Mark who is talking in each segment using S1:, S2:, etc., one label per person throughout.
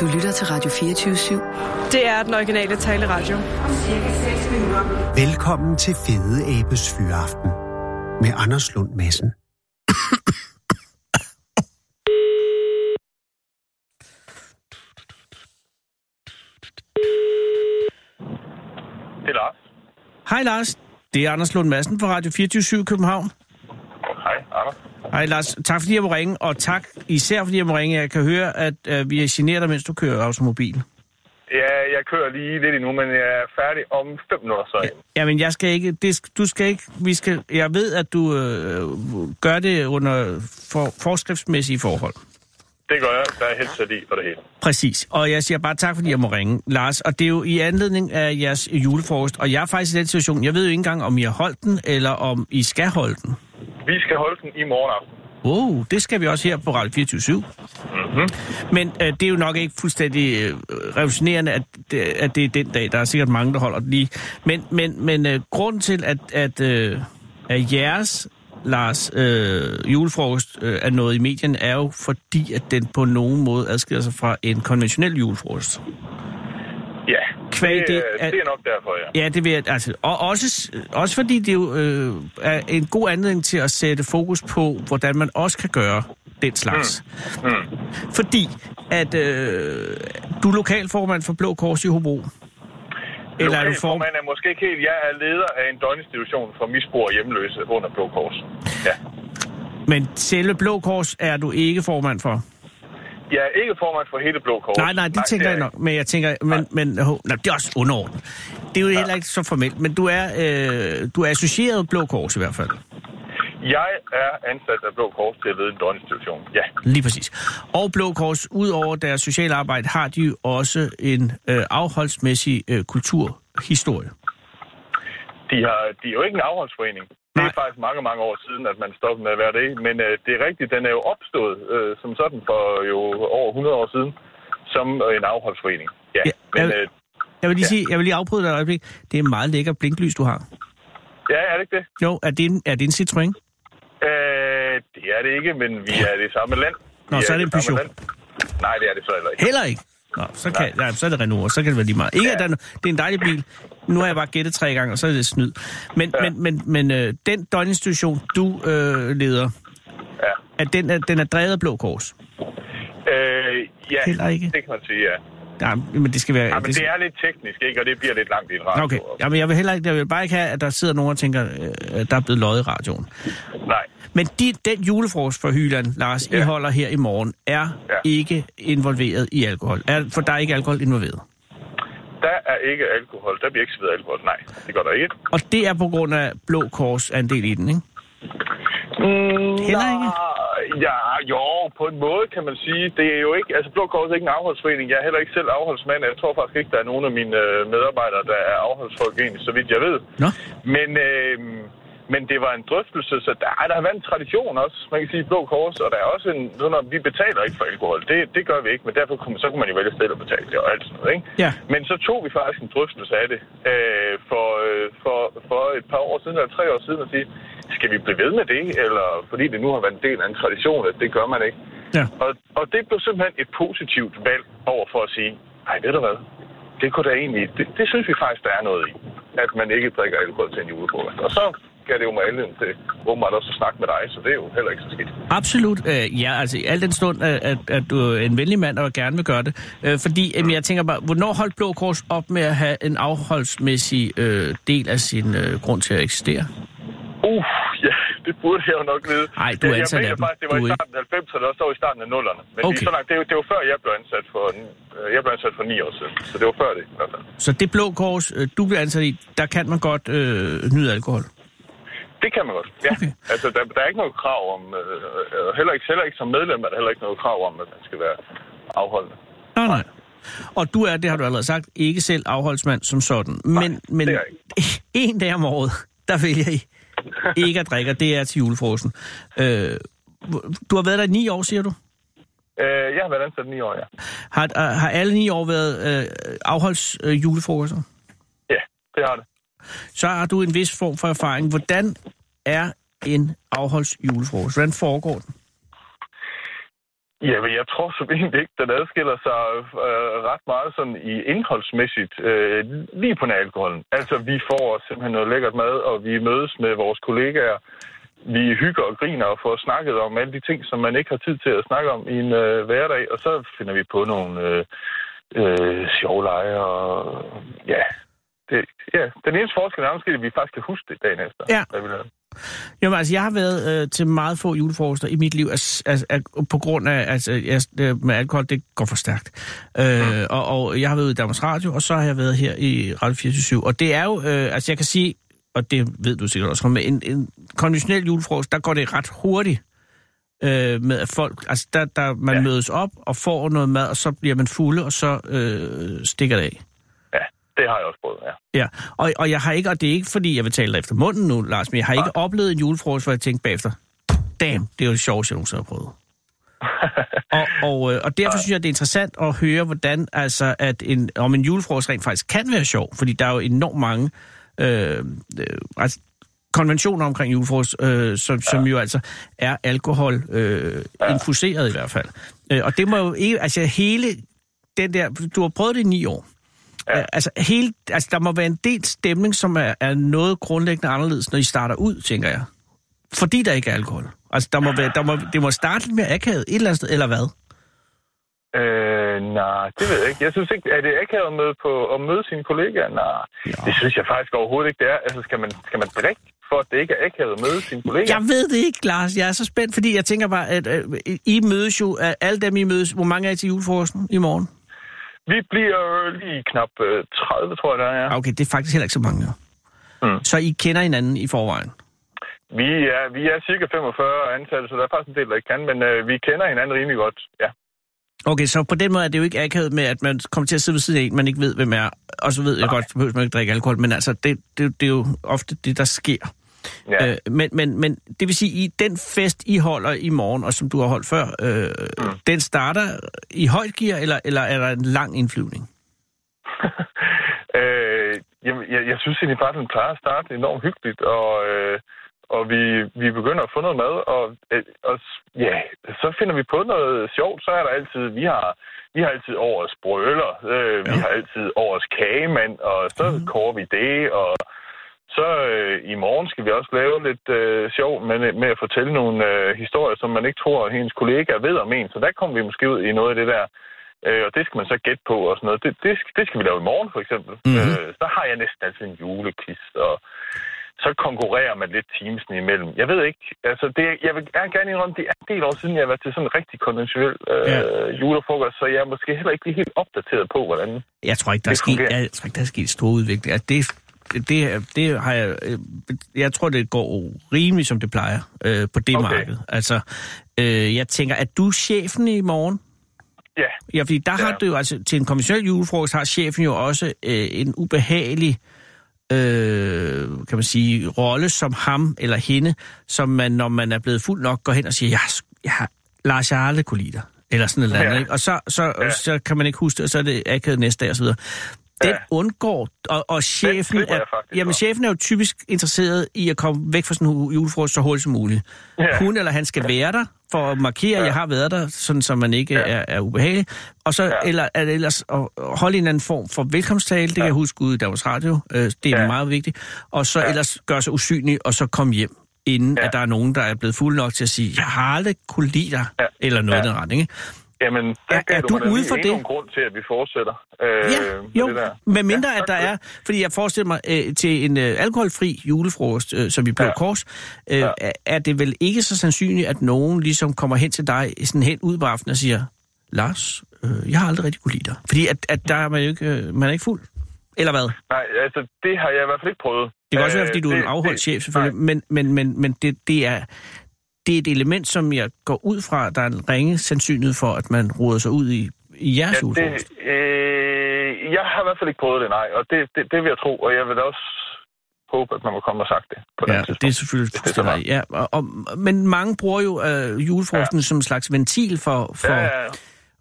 S1: Du lytter til Radio 24 /7.
S2: Det er den originale taleradio.
S3: Velkommen til Fede Abes Fyraften med Anders Lund Madsen.
S4: Det er Lars.
S5: Hej Lars, det er Anders Lund Madsen fra Radio 24 København.
S4: Hej, Anders.
S5: Hej Lars, tak fordi jeg må ringe, og tak især fordi jeg må ringe. Jeg kan høre, at øh, vi er generet dig, mens du kører automobil.
S4: Ja, jeg kører lige lidt endnu, men jeg er færdig om 5 minutter, så ja.
S5: Jamen, jeg skal ikke, det, sk- du skal ikke, vi skal, jeg ved, at du øh, gør det under for, forskriftsmæssige forhold.
S4: det gør jeg. Der er helt sat i for det hele.
S5: Præcis. Og jeg siger bare tak, fordi jeg må ringe, Lars. Og det er jo i anledning af jeres julefrokost. Og jeg er faktisk i den situation, jeg ved jo ikke engang, om I har holdt den, eller om I skal holde den.
S4: Vi skal holde den i morgen aften.
S5: Wow, det skal vi også her på Radio 24 mm-hmm. Men øh, det er jo nok ikke fuldstændig øh, revolutionerende, at, det- at det er den dag. Der er sikkert mange, der holder den lige. Men, men, men øh, grunden til, at, at, øh, at jeres, Lars, øh, julefrokost øh, er noget i medierne, er jo fordi, at den på nogen måde adskiller sig fra en konventionel julefrokost.
S4: Ja,
S5: Kvæg
S4: det,
S5: det,
S4: det,
S5: at-
S4: det er nok derfor, ja.
S5: Ja, det vil jeg, altså, og også, også fordi det jo øh, er en god anledning til at sætte fokus på, hvordan man også kan gøre den slags. Mm. Mm. Fordi at øh, du er lokalformand for Blå Kors i Hobro. Eller er du for...
S4: Lokalformand er måske ikke helt. Jeg er leder af en døgninstitution for misbrugere og hjemløse under Blå Kors. Ja.
S5: Men selve Blå Kors er du ikke formand for.
S4: Jeg er ikke formand for hele Blå Kors.
S5: Nej, nej, det tænker
S4: er
S5: jeg nok. Men jeg tænker, men, men hov, nej, det er også underordnet. Det er jo heller ikke så formelt, men du er, øh, du er associeret Blå Kors i hvert fald.
S4: Jeg er ansat af Blå Kors til at lede en døgninstitution. Ja,
S5: Lige præcis. Og Blå Kors, ud over deres sociale arbejde, har de jo også en øh, afholdsmæssig øh, kulturhistorie.
S4: de, har, de er jo ikke en afholdsforening. Det er
S5: Nej.
S4: faktisk mange, mange år siden, at man stoppede med at være det. Men øh, det er rigtigt, den er jo opstået øh, som sådan for jo over 100 år siden, som øh, en afholdsforening. Ja,
S5: Ja,
S4: ja men øh,
S5: jeg- Jeg vil lige,
S4: Ja.
S5: sige, jeg vil lige afbryde dig et øjeblik. Det er en meget lækker blinklys, du har.
S4: ja, er det ikke det?
S5: Jo, er det en, er det en Citroën?
S4: Øh, det er det ikke, men vi er det samme land.
S5: Nå,
S4: vi
S5: så er det
S4: det
S5: en
S4: samme
S5: Peugeot.
S4: land. Nej, det er det så heller ikke.
S5: Heller ikke. Nå, så, kan, nej, så er det Renault, og så kan det være lige meget. Ikke,
S4: Ja.
S5: at der, er no- det er en dejlig bil. Nu har jeg bare gættet tre gange, og så er det snyd. Men,
S4: Ja.
S5: men, men, men øh, den døgninstitution, du øh, leder,
S4: Ja.
S5: at den, er, den er drevet af Blå Kors.
S4: Øh, ja,
S5: Heller ikke.
S4: det kan man sige, ja.
S5: Nej, men det skal være...
S4: ja men
S5: det
S4: det
S5: skal-
S4: er lidt teknisk, ikke? Og det bliver lidt langt i en radio.
S5: Okay, Jamen, jeg vil heller ikke, jeg vil bare ikke have, at der sidder nogen og tænker, øh, at der er blevet løjet i radioen.
S4: Nej,
S5: Men de, den julefrokost for Hyland, Lars, ja. I
S4: Ja.
S5: holder her i morgen, er ja.
S4: Ja.
S5: ikke involveret i alkohol. Er, for der er ikke alkohol involveret.
S4: der er ikke alkohol. Der bliver ikke serveret alkohol. Nej, det gør der ikke.
S5: Og det er på grund af Blå Kors andel i den, ikke?
S4: Mm,
S5: Heller ikke?
S4: nej, Ja, jo, på en måde kan man sige. Det er jo ikke, altså Blå Kors er ikke en afholdsforening. Jeg er heller ikke selv afholdsmand. Jeg tror faktisk ikke, der er nogen af mine øh, medarbejdere, der er afholdsfolk egentlig, så vidt jeg ved.
S5: Nå.
S4: Men, øh, men det var en drøftelse, så der, ej, der har været en tradition også, man kan sige, Blå Kors, og der er også en, sådan noget, vi betaler ikke for alkohol, det, det gør vi ikke, men derfor kunne, så kunne man jo vælge selv at betale det og alt sådan noget, ikke?
S5: Ja.
S4: Men så tog vi faktisk en drøftelse af det øh, for, øh, for, for et par år siden, eller tre år siden, og sige, skal vi blive ved med det, eller fordi det nu har været en del af en tradition, at det gør man ikke.
S5: Ja.
S4: Og, og det blev simpelthen et positivt valg over for at sige, nej, ved du hvad, det kunne da egentlig, det, det synes vi faktisk, der er noget i, at man ikke drikker alkohol til en julefrokost. Og så kan det jo med anledning til åbenbart også at snakke med dig, så det er jo heller ikke så skidt.
S5: Absolut, øh, ja, altså i al den stund, at, at, at du er en venlig mand og gerne vil gøre det. Øh, fordi øh, jeg tænker bare, hvornår holdt Blå Kors op med at have en afholdsmæssig øh, del af sin øh, grund til at eksistere?
S4: Uh, ja, det burde jeg jo nok vide.
S5: Ej, du er
S4: Jeg-
S5: ansat
S4: Jeg mener
S5: af dem.
S4: faktisk, det var
S5: Du er
S4: i starten af 90'erne, og så var i starten af 0'erne. Men
S5: Okay.
S4: okay. så langt, det, er jo- det var før, jeg blev ansat for, øh, jeg blev ansat for 9 år siden. Så det var før det i hvert fald.
S5: Så det Blå Kors, øh, du bliver ansat i, der kan man godt øh, nyde alkohol.
S4: Det kan man godt, ja.
S5: Okay.
S4: Okay. Altså, der, der er ikke noget krav om, øh, øh, heller, ikke, heller ikke som medlem, er der heller ikke noget krav om, at man skal være afholdende.
S5: Nej, nej. Og du er, det har du allerede sagt, ikke selv afholdsmand som sådan. Men, men
S4: det er
S5: en dag om året, der vælger I ikke at drikke, og det er til julefrosen. Øh, du har været der i ni år, siger du?
S4: Øh, jeg har været ansat i 9 år, ja.
S5: Har, øh, har alle ni år været øh, afholds øh, julefrokoster?
S4: Ja, det har det.
S5: Så har du en vis form for erfaring. Hvordan er en afholds julefrokost? Hvordan foregår den?
S4: Jamen, jeg tror som egentlig ikke, den adskiller sig øh, ret meget sådan i indholdsmæssigt øh, lige på nær alkoholen. Altså, vi får simpelthen noget lækkert mad, og vi mødes med vores kollegaer. Vi hygger og griner og får snakket om alle de ting, som man ikke har tid til at snakke om i en øh, hverdag. Og så finder vi på nogle øh, øh, sjove lege og ja... Det, ja, den eneste forskel er måske, at vi faktisk kan huske det dagen efter.
S5: Ja.
S4: hvad vi lavede.
S5: Jo, altså, jeg har været øh, til meget få julefrokoster i mit liv, altså, altså, altså, på grund af, altså, jeg, øh, med alkohol, det går for stærkt. Øh, og, og jeg har været ude i Danmarks Radio, og så har jeg været her i Radio 24 Og det er jo, øh, altså, jeg kan sige, og det ved du sikkert også, med en, en konventionel julefrokost, der går det ret hurtigt øh, med at folk, altså, der, der man ja.
S4: Ja.
S5: mødes op og får noget mad, og så bliver man fulde, og så øh, stikker det af.
S4: Ja, det har jeg også prøvet, ja.
S5: Ja, og, og jeg har ikke, og det er ikke fordi, jeg vil tale dig efter munden nu, Lars, men jeg har ikke oplevet en julefrokost, hvor jeg tænkte bagefter, damn, det er jo det sjoveste, jeg nogensinde har prøvet. og, og, øh, og derfor synes jeg, det er interessant at høre, hvordan altså, at en, om en julefrokost rent faktisk kan være sjov, fordi der er jo enormt mange øh, øh, altså, konventioner omkring julefrokost, øh, som, som jo altså er alkohol øh, infuseret i hvert fald. Øh, og det må jo ikke, altså hele den der, du har prøvet det i ni år, Ja. Altså, hele, altså, der må være en del stemning, som er, er noget grundlæggende anderledes, når I starter ud, tænker jeg. Fordi der ikke er alkohol. Altså, der må være, der må, det må starte lidt mere akavet et eller andet sted, eller hvad?
S4: Øh, nej, det ved jeg ikke. Jeg synes ikke, er det akavet med på at møde sine kollegaer? Nej,
S5: Ja.
S4: ja. det synes jeg faktisk overhovedet ikke, det er. Altså, skal man, skal man drikke, for at det ikke er akavet at møde sine kollegaer?
S5: Jeg ved det ikke, Lars. Jeg er så spændt, fordi jeg tænker bare, at øh, I mødes jo, at alle dem I mødes, hvor mange er I til julefrokosten i morgen?
S4: Vi bliver lige knap øh, 30, tror jeg, der er.
S5: Ja. Okay, det er faktisk heller ikke så mange. Mm.
S4: Mm.
S5: Så I kender hinanden i forvejen?
S4: Vi er, vi er cirka 45 ansatte, så der er faktisk en del, der ikke kan, men øh, vi kender hinanden rimelig godt. Ja,
S5: Okay, så på den måde er det jo ikke akavet med, at man kommer til at sidde ved siden af en, man ikke ved, hvem er. Og så ved jeg godt, at man ikke drikke alkohol, men altså, det, det, det er jo ofte det, der sker.
S4: ja.
S5: Øh, men, men, men det vil sige, i den fest, I holder i morgen, og som du har holdt før, øh, mm. den starter i højt gear, eller, eller er der en lang indflyvning?
S4: Øh, jamen, jeg, jeg synes egentlig bare, at den plejer at starte enormt hyggeligt, og, øh, og vi, vi begynder at få noget mad, og, øh, og s- ja, så finder vi på noget sjovt, så er der altid, vi har, vi har altid årets brøler, øh, vi har altid årets kagemand, og så mm. koger vi det, og så øh, i morgen skal vi også lave lidt øh, sjov med, med at fortælle nogle øh, historier, som man ikke tror, at hendes kollegaer ved om en. Så der kommer vi måske ud i noget af det der. Øh, og det skal man så gætte på og sådan noget. Det, det, skal, det skal vi lave i morgen for eksempel.
S5: Mhm.
S4: Mm-hmm. Øh, så har jeg næsten altid en julequiz, og så konkurrerer man lidt teamsen imellem. Jeg ved ikke, altså det, jeg vil jeg vil gerne indrømme, det er en del år siden, jeg har været til sådan en rigtig konventionel øh,
S5: Ja.
S4: ja. julefrokost, så jeg er måske heller ikke lige helt opdateret på, hvordan...
S5: Jeg tror ikke, der er
S4: Det
S5: sket,
S4: fungerer.
S5: jeg tror ikke, der er sket store udvikling. Altså, det, det, det har jeg, øh, jeg tror, det går rimeligt, som det plejer øh, på det
S4: Okay.
S5: okay. marked. Altså, øh, jeg tænker, at du chefen i morgen?
S4: Ja,
S5: Ja, fordi der ja. har
S4: Ja.
S5: du jo, altså til en konventionel julefrokost, har chefen jo også øh, en ubehagelig, øh, kan man sige, rolle som ham eller hende, som man, når man er blevet fuld nok, går hen og siger, jeg, har sgu- jeg har, Lars, jeg har aldrig kunne lide dig. Eller sådan et eller andet,
S4: Ja.
S5: ikke? Og så, så, ja.
S4: Ja.
S5: så kan man ikke huske det, og så er det akavet næste dag og så videre. Den
S4: Ja.
S5: undgår, og, og chefen,
S4: slipper
S5: er,
S4: jeg faktisk
S5: jamen,
S4: for.
S5: chefen er jo typisk interesseret i at komme væk fra sådan en julefrokost så hurtigt som muligt. Ja.
S4: Ja.
S5: Hun eller han skal være der for at markere, at jeg har været der, sådan så man ikke ja. er, er ubehagelig. Og så ja. eller, eller ellers at holde en eller anden form for velkomsttale, det kan jeg huske ude i Danmarks Radio, øh, det er ja.
S4: Ja.
S5: meget vigtigt. Og så ja. ellers gøre sig usynlig, og så komme hjem, inden ja.
S4: Ja.
S5: at der er nogen, der er blevet fuld nok til at sige, jeg har aldrig kunne lide dig, ja. eller noget ja. i den retning. Ikke?
S4: Jamen, der
S5: Er-
S4: gav
S5: er
S4: du,
S5: du
S4: mig da
S5: ude
S4: lige
S5: for
S4: endnu
S5: det?
S4: en grund til, at vi fortsætter. Øh,
S5: Ja,
S4: med
S5: jo,
S4: det der.
S5: med mindre
S4: Ja,
S5: at der
S4: tak for
S5: er,
S4: det.
S5: fordi jeg forestiller mig, øh, til en øh, alkoholfri julefrokost, øh, som i Blå ja.
S4: Ja.
S5: Kors, øh, ja. er det vel ikke så sandsynligt, at nogen ligesom kommer hen til dig, sådan helt ud på aftenen og siger, Lars, øh, jeg har aldrig rigtig kunne lide dig. Fordi at, at der er man jo ikke, øh, man er ikke fuld. Eller hvad?
S4: Nej, altså, det har jeg i hvert fald ikke prøvet.
S5: Det kan også være,
S4: Øh,
S5: fordi du er en
S4: det-
S5: afholdt
S4: det-
S5: chef, selvfølgelig, men, men, men, men det, det, er, det er et element, som jeg går ud fra, at der er en ringe sandsynlighed for, at man roder sig ud i, i jeres ja,
S4: Ja,
S5: julefrokost.
S4: det, øh, jeg har i hvert fald ikke prøvet det, nej. Og det, det, det vil jeg tro, og jeg vil da også håbe, at man må komme og sagt det på
S5: Ja,
S4: den tidspunkt.
S5: det er selvfølgelig
S4: Hvis det er så
S5: fuldstændig. Ja, og, og, men mange bruger jo øh, julefrosten ja. som en slags ventil for... for
S4: Ja, ja,
S5: ja.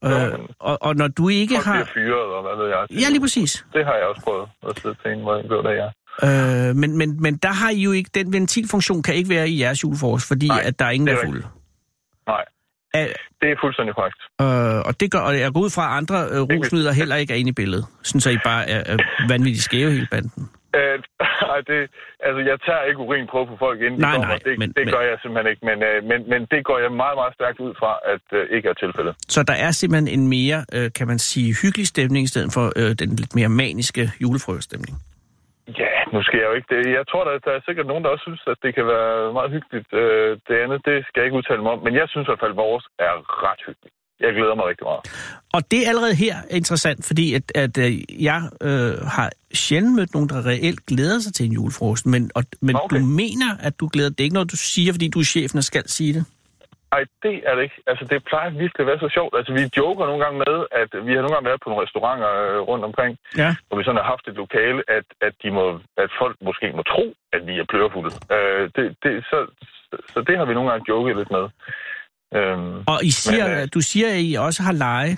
S5: Øh,
S4: Jo, men-
S5: og, og når du ikke
S4: folk bliver
S5: har...
S4: fyret, og hvad ved jeg.
S5: Ja, lige præcis.
S4: Det har jeg også prøvet at sidde til en, hvor jeg blev der, ja.
S5: Øh, men, men, men der har I jo ikke... Den ventilfunktion kan ikke være i jeres julefrokost, fordi Nej,
S4: Nej,
S5: at der er ingen,
S4: det
S5: der
S4: er
S5: er
S4: rigtigt.
S5: fulde.
S4: Nej.
S5: Er,
S4: Det er fuldstændig korrekt.
S5: Øh, og det gør, og jeg går ud fra, at andre øh, rusmidler heller ikke er inde i billedet. Sådan så I bare er, er vanvittigt skæve hele banden.
S4: Øh, ej, det, altså, jeg tager ikke urinprøve på folk, inden
S5: Nej,
S4: de kommer.
S5: nej,
S4: det,
S5: men-
S4: det
S5: men-
S4: gør jeg simpelthen ikke, men, øh, men, men det går jeg meget, meget stærkt ud fra, at øh, ikke er tilfældet.
S5: Så der er simpelthen en mere, øh, kan man sige, hyggelig stemning, i stedet for øh, den lidt mere maniske julefrokoststemning.
S4: Ja, nu skal jeg jo ikke det. Jeg tror, der, der er sikkert nogen, der også synes, at det kan være meget hyggeligt. Øh, det andet, det skal jeg ikke udtale mig om, men jeg synes i hvert fald, at vores er ret hyggeligt. Jeg glæder mig rigtig meget.
S5: Og det er allerede her interessant, fordi at, at øh, jeg øh, har sjældent mødt nogen, der reelt glæder sig til en julefrokost. Men, og, men okay.
S4: Okay.
S5: du mener, at du glæder dig. Det er ikke noget, du siger, fordi du er chefen og skal sige det.
S4: Ej, det er det ikke. Altså, det plejer virkelig at være så sjovt. Altså, vi joker nogle gange med, at vi har nogle gange været på nogle restauranter øh, rundt omkring,
S5: Ja.
S4: hvor vi sådan har haft et lokale, at, at, de må, at folk måske må tro, at vi er plørefulde. Øh, det, det, så, så- så det har vi nogle gange joket lidt med. Øhm,
S5: Og I siger,
S4: Men, øh,
S5: du siger, at I også har lege.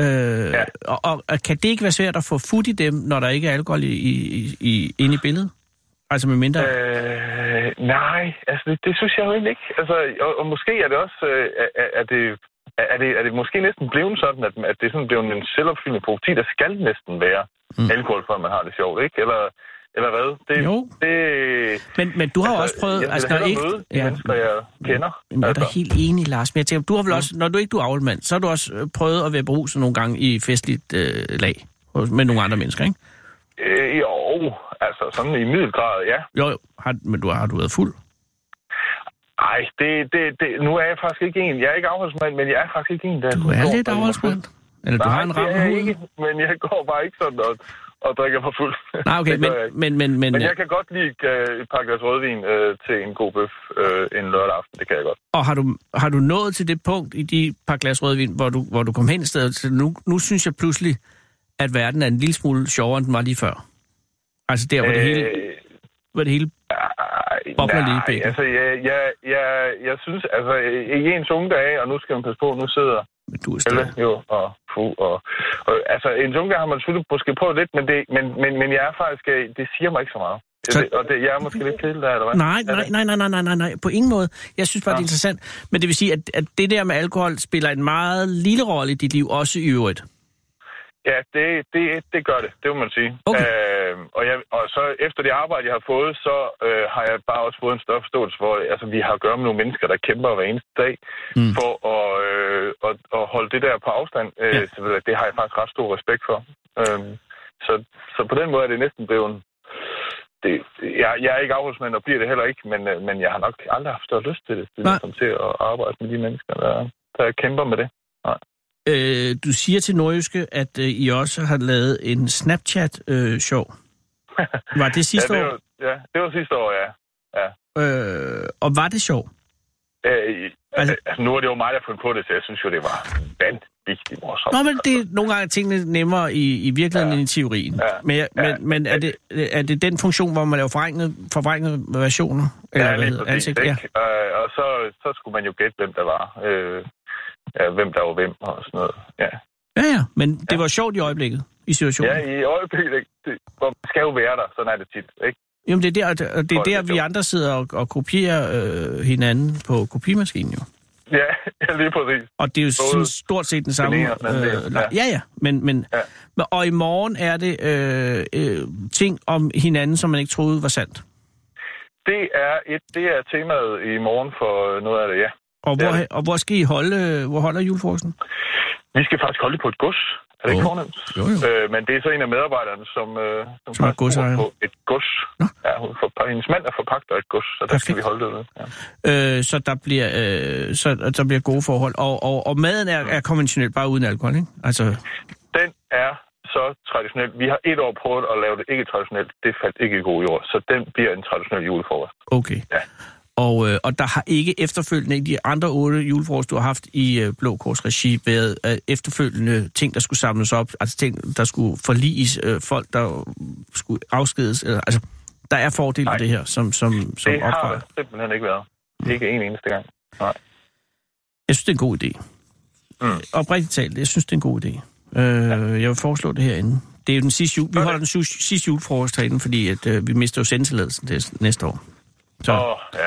S5: Øh, ja. og, og, og kan det ikke være svært at få fut i dem, når der ikke er alkohol i, i, i, inde i billedet? Altså med mindre... Øh.
S4: Øh, nej, altså det, det synes jeg jo egentlig ikke. Altså, og, og måske er det også, øh, er- er, er, det, er, er det, er det måske næsten blevet sådan, at, at det er sådan blevet en selvopfyldende profeti, der skal næsten være mm. alkohol, før man har det sjovt, ikke? Eller, eller hvad? Det,
S5: Jo.
S4: Det,
S5: Men, men du har jo
S4: altså,
S5: også prøvet...
S4: Jeg vil
S5: altså,
S4: altså,
S5: når
S4: hellere
S5: ikke,
S4: ikke, møde de
S5: ja,
S4: mennesker, jeg kender.
S5: Jamen, jeg er da
S4: altså,
S5: helt enig, Lars. Men jeg tænker, du har vel også, når du ikke du er avlmand, så har du også øh, prøvet at være brusen nogle gange i festligt øh, lag hos- med nogle andre mennesker, ikke?
S4: øh, jo, altså sådan i middelgrad, ja.
S5: Jo, jo. Har, men du, har du været fuld?
S4: Ej, det, det, det, nu er jeg faktisk ikke en. Jeg er ikke afholdsmand, men jeg er faktisk ikke en, der...
S5: Du er lidt
S4: der-
S5: afholdsmand. Eller du har en ramme
S4: det er jeg
S5: huden?
S4: ikke, men jeg går bare ikke sådan og, og drikker mig fuld.
S5: Nej, okay,
S4: Det
S5: men,
S4: gør jeg ikke.
S5: men, men, men,
S4: Men
S5: men
S4: jeg kan godt lide øh, et par glas rødvin øh, til en god bøf øh, en lørdag aften. Det kan jeg godt.
S5: øh, Og har du, har du nået til det punkt i de par glas rødvin, hvor du, hvor du kom hen i stedet? Så nu, nu synes jeg pludselig, at verden er en lille smule sjovere, end den var lige før. Altså der, hvor det hele...
S4: Øh,
S5: Hvor det hele
S4: ej,
S5: Bobler lige i
S4: nej,
S5: bækken.
S4: altså, jeg, jeg, jeg, jeg synes, altså, øh, i ens unge dage, og nu skal man passe på, nu sidder
S5: men du er
S4: Pelle
S5: stadig.
S4: jo og fu, og, og altså, i ens unge dage har man selvfølgelig måske prøvet lidt, men, det, men, men, men jeg er faktisk, øh, det siger mig ikke så meget.
S5: Så-
S4: Det, og det, jeg er måske lidt kedelig der, eller hvad?
S5: Nej,
S4: Er
S5: nej,
S4: det?
S5: nej, nej, nej, nej, nej, nej, på ingen måde. Jeg synes bare, det er
S4: Nå.
S5: interessant. Men det vil sige, at, at det der med alkohol spiller en meget lille rolle i dit liv, også i øvrigt.
S4: Ja, det, det, det gør det, det må man sige.
S5: Okay.
S4: Øh, og, jeg, og så efter det arbejde, jeg har fået, så øh, har jeg bare også fået en større forståelse for, altså vi har at gøre med nogle mennesker, der kæmper hver eneste dag
S5: Mm.
S4: mm. for at, øh, at, at holde det der på afstand. Øh,
S5: Ja.
S4: ja. så, ved jeg, det har jeg faktisk ret stor respekt for. Øh, så, så på den måde er det næsten blevet... Det, jeg, jeg er ikke afholdsmand og bliver det heller ikke, men, øh, men jeg har nok aldrig haft større lyst til det. Det er
S5: Nej.
S4: ligesom til at arbejde med de mennesker, der, der kæmper med det.
S5: Øh, du siger til Nordjyske, at øh, I også har lavet en Snapchat-show. var det sidste
S4: ja, det
S5: år?
S4: var, ja, det var sidste år, ja.
S5: Øh, og var det sjov?
S4: Øh,
S5: Altså-
S4: altså, altså, nu er det jo mig, der har fundet på det, så jeg synes jo, det var vanvittigt morsomt.
S5: Nå, men det er nogle gange er tingene nemmere i, i virkeligheden ja.
S4: Ja.
S5: end i teorien. Ja.
S4: Ja.
S5: Men, jeg-
S4: Ja.
S5: men, men er, det, er det den funktion, hvor man laver forvrængede, forvrængede versioner? Eller hvad hedder det? Ansigt-
S4: ikke?
S5: ja.
S4: Øh, og så, så skulle man jo gætte, hvem der var. Øh, ja, hvem der var hvem og sådan noget. Ja,
S5: ja, ja, men det var sjovt i øjeblikket, i situationen.
S4: ja
S5: Ja, ja.
S4: i øjeblikket, ikke? det, hvor man skal jo være der, sådan er det tit, ikke?
S5: Jamen, det er der, og det er
S4: Folk er
S5: der vi
S4: sjovt.
S5: andre sidder og, og kopierer øh, hinanden på kopimaskinen jo.
S4: Ja, ja lige præcis.
S5: Og det er jo
S4: Både
S5: sådan, stort set den samme...
S4: den ene og den anden
S5: Øh,
S4: del,
S5: ja.
S4: ja.
S5: ja, ja. Men, men,
S4: Ja.
S5: men, og i morgen er det øh, øh, ting om hinanden, som man ikke troede var sandt.
S4: Det er, et, det er temaet i morgen for øh, noget af det, ja.
S5: Og hvor,
S4: Ja.
S5: og hvor skal I holde, øh, hvor holder julefrokosten?
S4: Vi skal faktisk holde det på et gods. Er det ikke
S5: Jo.
S4: fornemt?
S5: Jo, jo.
S4: Øh, men det er så en af medarbejderne, som, øh, som,
S5: Som er
S4: faktisk bor
S5: godsejer.
S4: på et gods.
S5: Nå.
S4: Ja, hun for, hendes mand er forpagter af et gods, så der skal
S5: Perfekt.
S4: vi holde det ved. Ja.
S5: Øh, så der bliver øh, så der bliver gode forhold. Og, og, og maden
S4: Mm.
S5: er, er konventionel, bare uden alkohol, ikke? Altså,
S4: den er så traditionel. Vi har et år prøvet at lave det ikke traditionelt. Det faldt ikke i god jord, så den bliver en traditionel julefrokost.
S5: okay.
S4: Ja.
S5: Og, øh, og der har ikke efterfølgende i de andre otte julefrokost, du har haft i øh, Blå Kors regi, været øh, efterfølgende ting, der skulle samles op, altså ting, der skulle forliges, øh, folk, der skulle afskedes. Eller, altså, der er fordele ved det her, som, som, som
S4: det har
S5: opvejer.
S4: der simpelthen ikke været. Ikke en eneste gang. Nej.
S5: Jeg synes, det er en god idé. Mm.
S4: Mm.
S5: Oprigtigt talt, jeg synes, det er en god idé. Øh, Jeg vil foreslå det herinde. Det er jo den sidste jul. Vi
S4: Okay.
S5: holder den sidste, sidste julefrokost herinde, fordi at, øh, vi mister jo sendtilladelsen til næste år. Så,
S4: Åh, ja.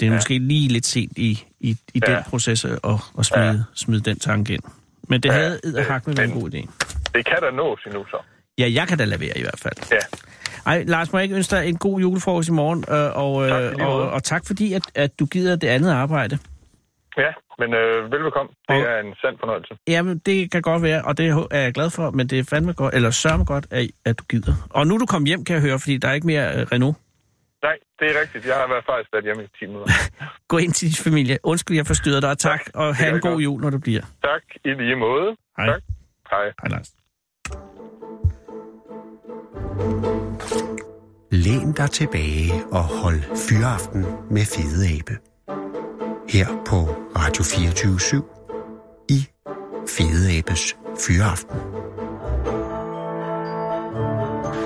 S5: Det er ja. måske lige lidt sent i, i, i ja.
S4: Ja.
S5: den proces at, at smide, ja. smide den tanke ind. Men det
S4: Ja, øh,
S5: havde ja. Edderhakme været en
S4: men-
S5: god idé.
S4: Det kan da nås endnu så.
S5: Ja, jeg kan da lade være i hvert fald.
S4: Ja.
S5: Ej, Lars, må jeg ikke ønske dig en god julefrokost i morgen, øh, og,
S4: Tak i
S5: øh,
S4: lige
S5: og,
S4: måde.
S5: og tak fordi, at, at du gider det andet arbejde.
S4: Ja, men øh, velbekomme. Det
S5: Og-
S4: er en sand fornøjelse.
S5: Jamen, det kan godt være, og det ho- er jeg glad for, men det er fandme godt, eller sørme godt, at, at du gider. Og nu er du kommet hjem, kan jeg høre, fordi der er ikke mere øh, Renault.
S4: Nej, det er rigtigt. Jeg har været faktisk været hjemme i 10 minutter.
S5: Gå ind til din familie. Undskyld, jeg forstyrrer dig, og tak,
S4: Tak.
S5: og
S4: Det
S5: have
S4: gør
S5: en
S4: jeg
S5: god
S4: godt.
S5: jul, når du bliver.
S4: tak i lige måde.
S5: Hej.
S4: Tak. Hej.
S5: Hej, Lars.
S3: Læn dig tilbage og hold fyraften med Fede Abe. Her på Radio 24 i Fede Abes Fyraften.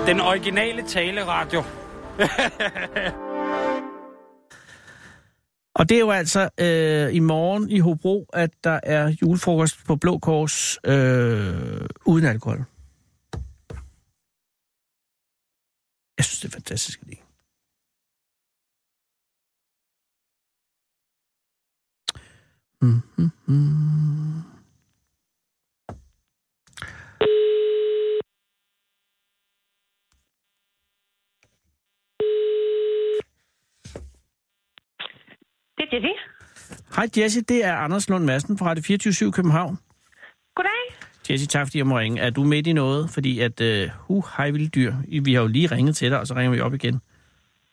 S6: Den originale taleradio.
S5: Og det er jo altså øh, i morgen i Hobro, at der er julefrokost på Blå Kors øh, uden alkohol. Jeg synes, det er fantastisk idé. Mm-hmm.
S7: Det er Jessie.
S5: Hej Jesse, det er Anders Lund Madsen fra Radio 24 København.
S7: Goddag.
S5: Jesse, tak fordi jeg må ringe. Er du midt i noget? Fordi at, øh, uh, hej vilde dyr. Vi har jo lige ringet til dig, og så ringer vi op igen.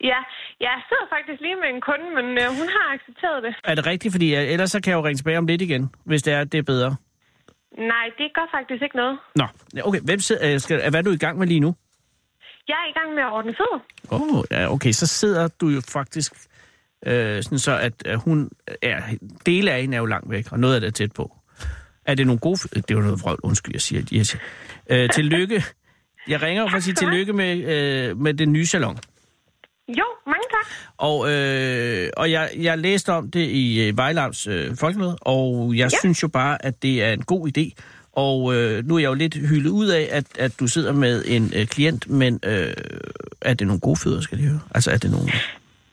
S7: Ja, jeg sidder faktisk lige med en kunde, men øh, hun har accepteret det.
S5: Er det rigtigt? Fordi øh, ellers så kan jeg jo ringe tilbage om lidt igen, hvis det er, at det er bedre.
S7: Nej, det gør faktisk ikke noget.
S5: Nå, ja, okay. Hvem sidder, øh, skal, hvad er du i gang med lige nu?
S7: Jeg er i gang med at ordne fødder.
S5: Åh, oh, ja, okay. Så sidder du jo faktisk øh, sådan så, at øh, hun er, dele af hende er jo langt væk, og noget af det er tæt på. Er det nogle gode... f- Det er jo noget vrøvl, undskyld, jeg siger, Jesse. Øh, tillykke. Jeg ringer jo for at sige tillykke med, øh, med den nye salon.
S7: Jo, mange tak.
S5: Og, øh, og jeg, jeg læste om det i øh, Vejlams øh, Folkemøde, og jeg ja. synes jo bare, at det er en god idé. Og øh, nu er jeg jo lidt hyldet ud af, at, at du sidder med en øh, klient, men øh, er det nogle gode fødder, skal de høre? Altså er det nogle...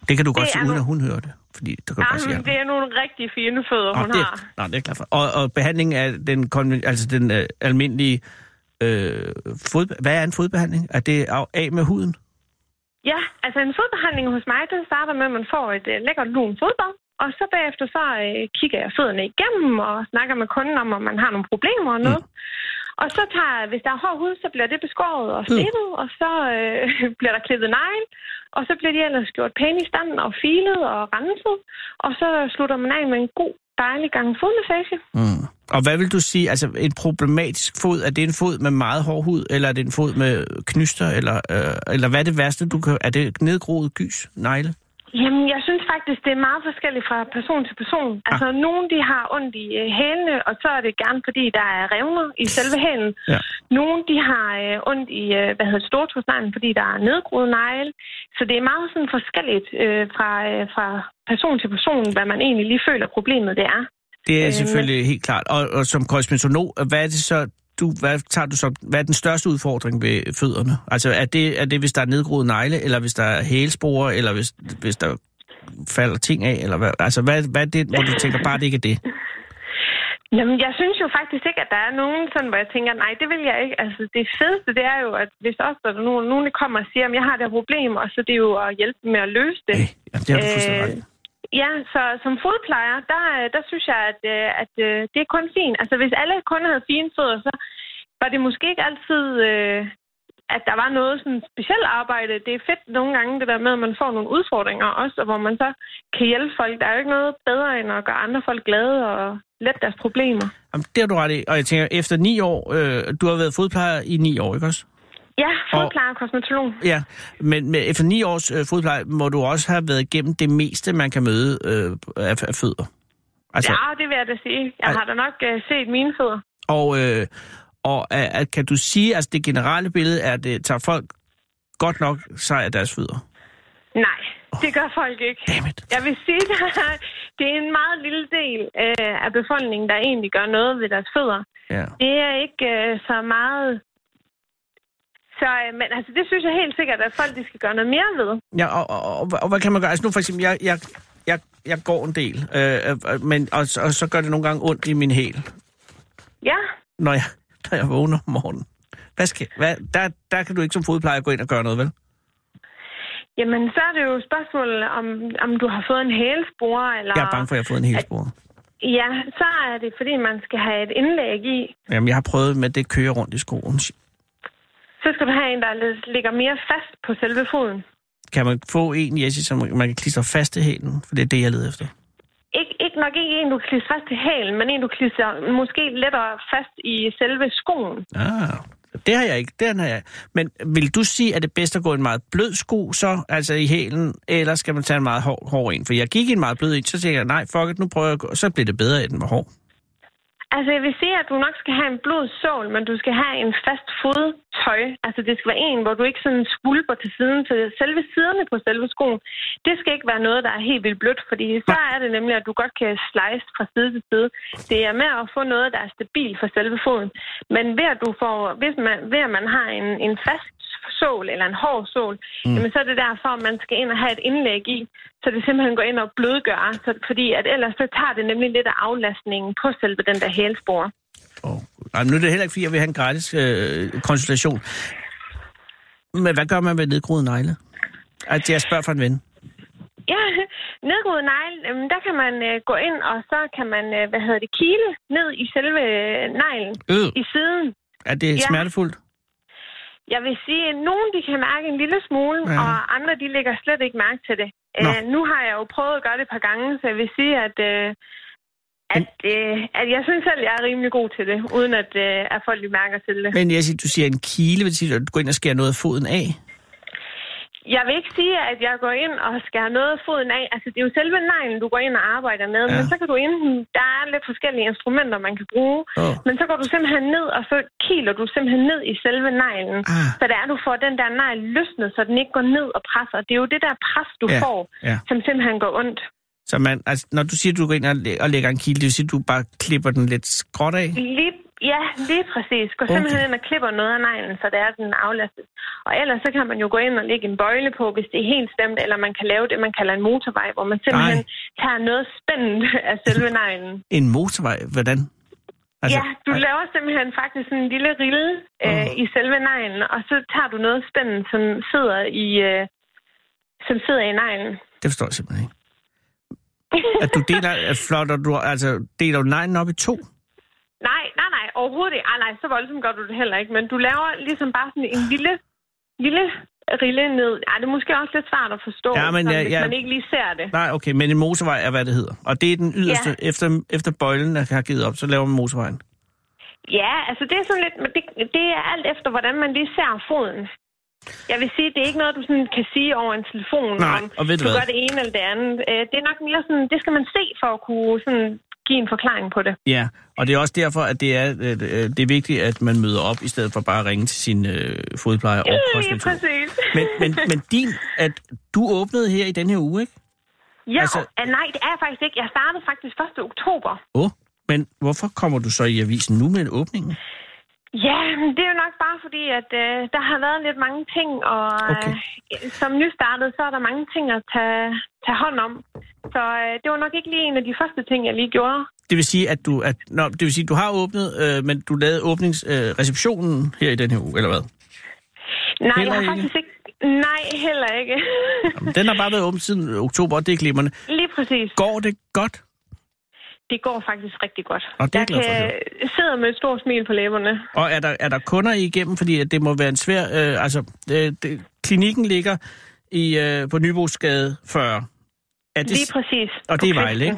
S5: Det kan du godt
S7: er
S5: se, uden
S7: nogle-
S5: at hun hører det. Fordi der kan du bare sige,
S7: Jamen, det er nogle rigtig fine fødder, hun
S5: altså, Nå, det, Nå,
S7: har.
S5: det er klart for. Og, og behandlingen af den, konven- altså den øh, almindelige... Øh, fod, hvad er en fodbehandling? Er det af, af med huden?
S7: Ja, altså en fodbehandling hos mig, den starter med, at man får et øh, lækkert lun fodbold. Og så bagefter så øh, kigger jeg fødderne igennem og snakker med kunden om, om man har nogle problemer og noget. Og så tager, hvis der er hård hud, så bliver det beskåret og slebet, og så øh, bliver der klippet negl, og så bliver de ellers gjort pæne i stand og filet og renset. Og så slutter man af med en god, dejlig gang fodmassage.
S5: Mm. Og hvad vil du sige, altså en problematisk fod, er det en fod med meget hård hud, eller er det en fod med knyster, eller, øh, eller hvad er det værste, du kan, er det nedgroet gys, negle?
S7: Jamen, jeg synes faktisk, det er meget forskelligt fra person til person. Altså, ah. nogen de har ondt i øh, hælene, og så er det gerne, fordi der er revner i selve hælen.
S5: Ja.
S7: Nogen de har øh, ondt i, øh, hvad hedder det, stortusneglen, fordi der er nedgroet negle. Så det er meget sådan forskelligt øh, fra, øh, fra person til person, hvad man egentlig lige føler problemet det er.
S5: Det er
S7: Øh,
S5: selvfølgelig helt klart. Og, og som kosmetolog, hvad er det så, du, hvad tager du som, hvad er den største udfordring ved fødderne? Altså er det, er det hvis der er nedgroet negle, eller hvis der er hælsporer, eller hvis, hvis der falder ting af, eller hvad, altså hvad, hvad er det, hvor du tænker bare, det ikke er det?
S7: Jamen, jeg synes jo faktisk ikke, at der er nogen, sådan, hvor jeg tænker, nej, det vil jeg ikke. Altså, det fedeste, det er jo, at hvis også der er nogen, nogen der kommer og siger, at jeg har det her problem, og så er det er jo at hjælpe dem med at løse det. Øh,
S5: Øh, jamen, det har du fuldstændig ret i.
S7: ja, så som fodplejer, der, øh, der synes jeg, at, øh, at øh, det er kun fint. Altså, hvis alle kunder havde fine fødder, så var det måske ikke altid, øh, at der var noget sådan specielt arbejde. Det er fedt nogle gange, det der med, at man får nogle udfordringer også, og hvor man så kan hjælpe folk. Der er jo ikke noget bedre, end at gøre andre folk glade og lette deres problemer.
S5: Jamen, det har du ret i. Og jeg tænker, efter ni år, øh, du har været fodplejer i ni år, ikke også?
S7: Ja, fodplejer og Altså- kosmetolog.
S5: Ja, men med, efter ni års øh, fodpleje må du også have været igennem det meste, man kan møde øh, af, af fødder. Altså,
S7: Ja, det vil jeg da sige. Jeg
S5: Ej.
S7: har da nok øh, set mine fødder.
S5: Og, øh, og er, er, kan du sige, at altså, det generelle billede er, at det tager folk godt nok sig af deres fødder?
S7: Nej, det gør folk ikke.
S5: Dammit.
S7: Jeg vil sige, at det er en meget lille del øh, af befolkningen, der egentlig gør noget ved deres fødder.
S5: Ja.
S7: Det er ikke øh, så meget... Så, øh, men altså, det synes jeg helt sikkert, at folk de skal gøre noget mere ved.
S5: Ja, og, og, og, og hvad kan man gøre? Altså nu for eksempel, jeg, jeg jeg, jeg går en del, øh, øh, øh, men, og, så- og så gør det nogle gange ondt i min hæl,
S7: Ja,
S5: når jeg, når jeg vågner om morgenen. Hvad skal, hvad, der, der kan du ikke som fodplejer gå ind og gøre noget, vel?
S7: jamen så er det jo et spørgsmål, om, om du har fået en hælspore, eller...
S5: Jeg er bange for, at jeg har fået en hælspore.
S7: Ja, så er det, fordi man skal have et indlæg i.
S5: Jamen, jeg har prøvet med at det kører rundt i skoen.
S7: Så skal du have en, der lidt- ligger mere fast på selve foden.
S5: Kan man få en, Jesse, som man kan klistre fast i hælen? For det er det, jeg leder efter.
S7: Ikke, ikke nok ikke en, du klister fast til hælen, men en, du klister måske lettere fast i selve skoen.
S5: Ah, det har jeg ikke. Den har jeg. Men vil du sige, at det er bedst at gå i en meget blød sko, så, altså i hælen, eller skal man tage en meget hård, hård en? For jeg gik i en meget blød en, så tænkte jeg, nej, fuck it, nu prøver jeg at gå. Så blev det bedre, at den var hård.
S7: Altså, jeg vil sige, at du nok skal have en blød sål, men du skal have en fast fodtøj. Altså, det skal være en, hvor du ikke sådan skvulper til siden, så selve siderne på selve skoen, det skal ikke være noget, der er helt vildt blødt, fordi så er det nemlig, at du godt kan slice fra side til side. Det er med at få noget, der er stabilt for selve foden. Men ved at, du får, hvis man, ved at man har en, en fast sål eller en hård sål, mm. jamen så er det derfor, at man skal ind og have et indlæg i, så det simpelthen går ind og blødgør, så, fordi at ellers så tager det nemlig lidt af aflastningen på selve den der hælspore.
S5: Oh. Ej, men nu er det heller ikke, fordi jeg vil have en gratis øh, konsultation. Men hvad gør man ved nedgroede negle? At jeg spørger for en ven.
S7: Ja, nedgroet negl, øhm, der kan man øh, gå ind, og så kan man, øh, hvad hedder det, kile ned i selve øh, neglen
S5: Øh,
S7: i siden.
S5: er det
S7: Ja.
S5: smertefuldt?
S7: Jeg vil sige, at nogen de kan mærke en lille smule,
S5: Ja.
S7: ja. og andre de lægger slet ikke mærke til det.
S5: Nå.
S7: Øh, nu har jeg jo prøvet at gøre det et par gange, så jeg vil sige, at, øh, at, øh, at jeg synes selv, jeg er rimelig god til det, uden at, øh, at folk de mærker til det.
S5: Men Jesse, du siger en kile, vil sige, at du går ind og skærer noget af foden af.
S7: Jeg vil ikke sige, at jeg går ind og skærer noget af foden af. Altså, det er jo selve neglen, du går ind og arbejder med.
S5: Ja.
S7: Ja. Men så kan du enten... Der er lidt forskellige instrumenter, man kan bruge.
S5: Åh.
S7: Men så går du simpelthen ned, og så kiler du simpelthen ned i selve neglen.
S5: Ah.
S7: Så det er, du får den der negl løsnet, så den ikke går ned og presser. Det er jo det der pres, du
S5: Ja,
S7: ja. får,
S5: ja.
S7: som simpelthen går ondt.
S5: Så man, altså, når du siger, at du går ind og, læ- og lægger en kile, det vil sige, at du bare klipper den lidt skråt af?
S7: Lige, ja, lige præcis. Gå
S5: Okay.
S7: simpelthen ind og klipper noget af neglen, så det er, den aflastet. Og ellers så kan man jo gå ind og lægge en bøjle på, hvis det er helt stemt, eller man kan lave det, man kalder en motorvej, hvor man simpelthen Nej. tager noget spændt af selve neglen.
S5: En motorvej? Hvordan?
S7: Altså, ja, du laver simpelthen faktisk sådan en lille rille øh, i selve neglen, og så tager du noget spændt, som sidder i, øh, som sidder i neglen.
S5: Det forstår jeg simpelthen ikke. At du deler, at flotter du, altså, deler du neglen op i to?
S7: Nej, nej, nej, overhovedet ikke. Ej, nej, så voldsomt gør du det heller ikke. Men du laver ligesom bare sådan en lille, lille rille ned. Ej, det er måske også lidt svært at forstå,
S5: Ja, men
S7: sådan,
S5: jeg-
S7: hvis
S5: jeg-
S7: man ikke lige ser det.
S5: Nej, okay, men en motorvej er, hvad det hedder. Og det er den yderste, ja.
S7: Ja.
S5: efter, efter bøjlen der har givet op, så laver man motorvejen.
S7: Ja, altså det er sådan lidt, men det, det er alt efter, hvordan man lige ser foden. Jeg vil sige, det er ikke noget, du sådan kan sige over en telefon,
S5: Nej,
S7: om
S5: og ved du
S7: du
S5: hvad?
S7: gør det ene eller det andet. Øh, Det er nok mere sådan, det skal man se for at kunne sådan give en forklaring på det.
S5: Ja, og det er også derfor, at det er, øh, øh, det er vigtigt, at man møder op, i stedet for bare at ringe til sin øh, fodplejer og
S7: Lige
S5: kosmetolog.
S7: præcis.
S5: Men, men, men din, at du åbnede her i den her uge, ikke?
S7: ja, altså...
S5: altså-
S7: nej, det er jeg faktisk ikke. Jeg startede faktisk 1. oktober.
S5: Åh, oh, men hvorfor kommer du så i avisen nu med åbningen?
S7: Ja, men det er jo nok bare fordi, at øh, der har været lidt mange ting, og
S5: Okay.
S7: øh, som nystartet, så er der mange ting at tage, tage hånd om. Så øh, det var nok ikke lige en af de første ting, jeg lige gjorde.
S5: Det vil sige, at du, at, nå, det vil sige, du har åbnet, øh, men du lavede åbningsreceptionen øh, receptionen her i den her uge, eller hvad?
S7: Nej,
S5: Heller
S7: jeg
S5: ikke?
S7: har faktisk ikke. Nej, heller ikke.
S5: Jamen, Den har bare været åben siden oktober, og det er glimrende.
S7: lige præcis.
S5: Går det godt?
S7: Det går faktisk rigtig godt.
S5: Og det er jeg glad
S7: jeg
S5: for at
S7: kan sidde med et stort smil på læberne.
S5: Og er der, er der kunder igennem? Fordi at det må være en svær... Øh, altså, øh, det, klinikken ligger i, øh, på Nybosgade 40. Er det,
S7: Lige præcis.
S5: og det er
S7: På
S5: Vejle, ikke?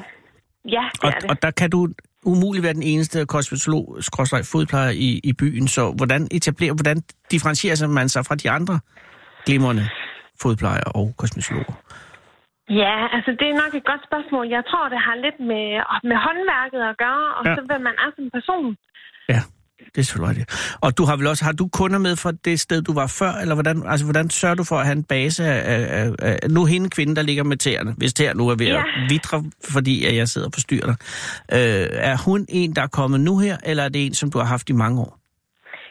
S7: Ja, det
S5: Og,
S7: er det.
S5: og der kan du umuligt være den eneste kosmetolog skråstreg fodplejer i, i byen, så hvordan etablerer, hvordan differentierer sig man sig fra de andre glimrende fodplejer og kosmetologer?
S7: Ja, altså det er nok et godt spørgsmål. Jeg tror, det har lidt med, med håndværket at gøre, og
S5: Ja.
S7: ja. så hvad man er som person.
S5: Ja, det er selvfølgelig rigtigt. Og du har vel også, har du kunder med fra det sted, du var før, eller hvordan, altså, hvordan sørger du for at have en base af, af, af, af nu er hende kvinden, der ligger med tæerne, hvis tæer nu er ved ja.
S7: Ja.
S5: at vidre, fordi at jeg sidder og forstyrrer dig. Øh, er hun en, der er kommet nu her, eller er det en, som du har haft i mange år?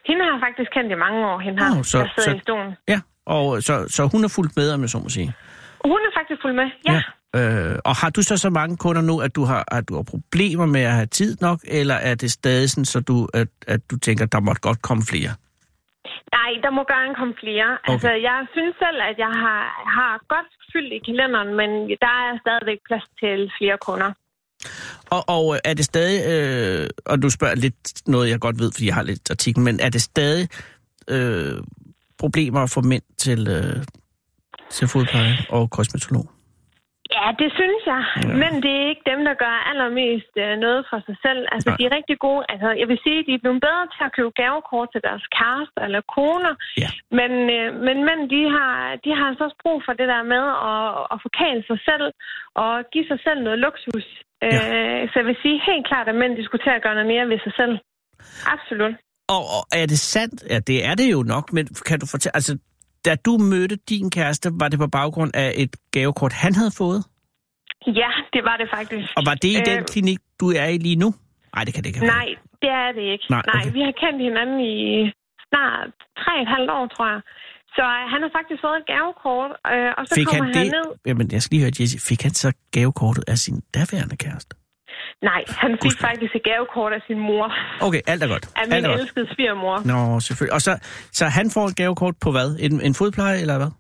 S7: Hende har jeg faktisk kendt i mange år, hende her,
S5: Åh, så-
S7: der sidder
S5: så-
S7: i stolen.
S5: Ja, og så, så hun er fuldt med, om jeg så må sige.
S7: Hun er faktisk fuld med, ja. ja.
S5: Øh, og har du så så mange kunder nu, at du har, at du har problemer med at have tid nok, eller er det stadig sådan, så du, at, at du tænker, der måtte godt komme flere?
S7: Nej, der må gerne komme flere. Okay. Altså, jeg synes selv, at jeg har, har godt fyldt i kalenderen, men der er stadigvæk plads til flere kunder.
S5: Og, og øh, er det stadig, øh, og du spørger lidt noget, jeg godt ved, fordi jeg har lidt artiklen, men er det stadig øh, problemer at få mænd til, øh, til fodpleje og kosmetolog?
S7: Ja, det synes jeg. Ja. Men det er ikke dem, der gør allermest øh, noget for sig selv. Altså,
S5: Nej.
S7: de er rigtig gode. Altså, jeg vil sige, at de er blevet bedre til at købe gavekort til deres kærester eller koner.
S5: Ja.
S7: Men, øh, men mænd, de har, de har altså også brug for det der med at, at forkæle sig selv og give sig selv noget luksus. Ja. Øh, så jeg vil sige helt klart, at mænd de skulle til at gøre noget mere ved sig selv. Absolut.
S5: Og, og er det sandt? Ja, det er det jo nok, men kan du fortælle... Altså, da du mødte din kæreste, var det på baggrund af et gavekort, han havde fået?
S7: Ja, det var det faktisk.
S5: Og var det i øh, den
S7: Øh,
S5: klinik, du er i lige nu? Nej, det kan det ikke have været.
S7: Nej, det er det ikke.
S5: Nej,
S7: Nej,
S5: okay.
S7: Nej vi har kendt hinanden i snart tre og et halvt år, tror jeg. Så øh, han har faktisk fået et gavekort, øh, og så
S5: Fik
S7: kommer
S5: han
S7: han,
S5: det?
S7: ned.
S5: Jamen, jeg skal lige høre, Jesse. Fik han så gavekortet af sin daværende kæreste?
S7: Nej, han fik
S5: Gudskelov.
S7: faktisk et gavekort af sin mor,
S5: Okay, alt er godt.
S7: af
S5: alt
S7: min
S5: er godt.
S7: elskede svigermor.
S5: Nå, selvfølgelig. Og så, så han får et gavekort på hvad? En, en fodpleje, eller hvad?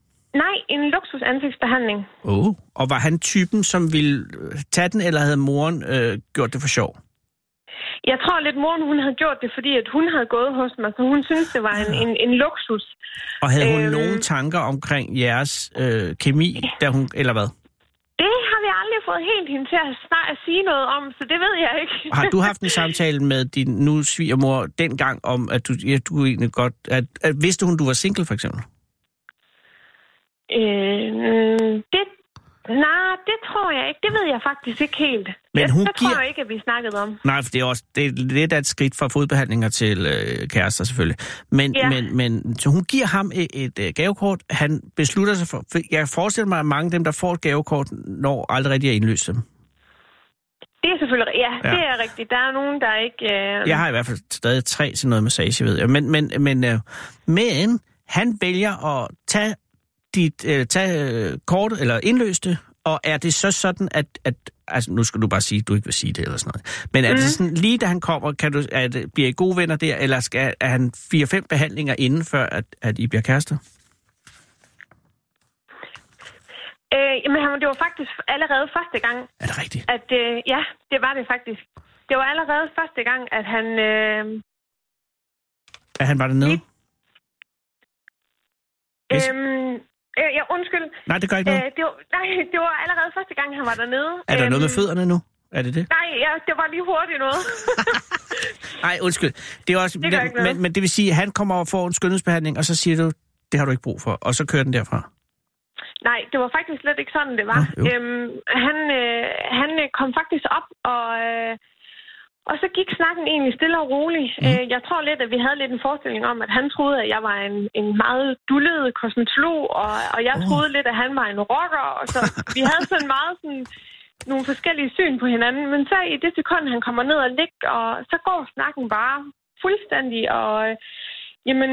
S7: Nej, en luksus ansigtsbehandling.
S5: Åh. Oh. Og var han typen, som ville øh, tage den, eller havde moren øh, gjort det for sjov?
S7: Jeg tror lidt, moren hun havde gjort det, fordi at hun havde gået hos mig, så hun syntes, det var en,
S5: Ah.
S7: en, en luksus.
S5: Og havde hun
S7: Øhm.
S5: nogen tanker omkring jeres øh, kemi, da hun, eller hvad?
S7: Det har vi aldrig fået helt hende til at, snak- at sige noget om, så det ved jeg ikke.
S5: Har du haft en samtale med din nu svigermor dengang om, at du, ja, du egentlig godt... At, at, vidste hun, du var single, for eksempel?
S7: Øh, mm, det, nej, det tror jeg ikke. Det ved jeg faktisk ikke helt.
S5: Men
S7: det,
S5: hun
S7: det
S5: giver-
S7: tror jeg ikke, at vi snakkede om.
S5: Nej, for det er, også, det er lidt af et skridt fra fodbehandlinger til øh, kærester, selvfølgelig. Men, ja.
S7: Ja.
S5: men, men så hun giver ham et, et øh, gavekort. Han beslutter sig for... for Jeg forestiller mig, at mange af dem, der får et gavekort, når aldrig rigtig at indløse dem.
S7: Det er selvfølgelig... Ja,
S5: Ja.
S7: ja. det er rigtigt. Der er nogen, der ikke... Øh,
S5: Jeg har i hvert fald stadig tre til noget massage, ved jeg. Men, men, men, øh, men han vælger at tage, dit, øh, tage øh, kortet, eller indløste, og er det så sådan, at, at altså nu skal du bare sige, at du ikke vil sige det eller sådan noget, men er mm. det sådan, lige da han kommer, kan du, er det, bliver I gode venner der, eller skal, er han fire-fem behandlinger inden, før at, at I bliver kærester?
S7: øh, jamen, han- det var faktisk allerede første gang,
S5: Er det rigtigt?
S7: at... Øh, ja, det var det faktisk. Det var allerede første gang, at han... Øh,
S5: Er han bare dernede? Yes.
S7: øhm, øh, ja, undskyld.
S5: Nej, det gør ikke noget.
S7: Øh, det var, nej, det var allerede første gang, han var dernede.
S5: Er der
S7: Øhm,
S5: noget med fødderne nu? Er det det?
S7: Nej, ja, det var lige hurtigt noget.
S5: Nej, undskyld. Det er også,
S7: Det gør ikke noget.
S5: men, men det vil sige, at han kommer og får en skønhedsbehandling, og så siger du, det har du ikke brug for, og så kører den derfra.
S7: Nej, det var faktisk slet ikke sådan, det var.
S5: Nå, jo.
S7: øhm, han, øh, han øh, kom faktisk op, og, øh, og så gik snakken egentlig stille og roligt. Mm. Øh, jeg tror lidt, at vi havde lidt en forestilling om, at han troede, at jeg var en, en meget dullet kosmetolog, og, og jeg troede lidt, at han var en rocker. Og så vi havde sådan meget sådan nogle forskellige syn på hinanden, men så i det sekund, han kommer ned og ligger, og så går snakken bare fuldstændig, og øh, jamen,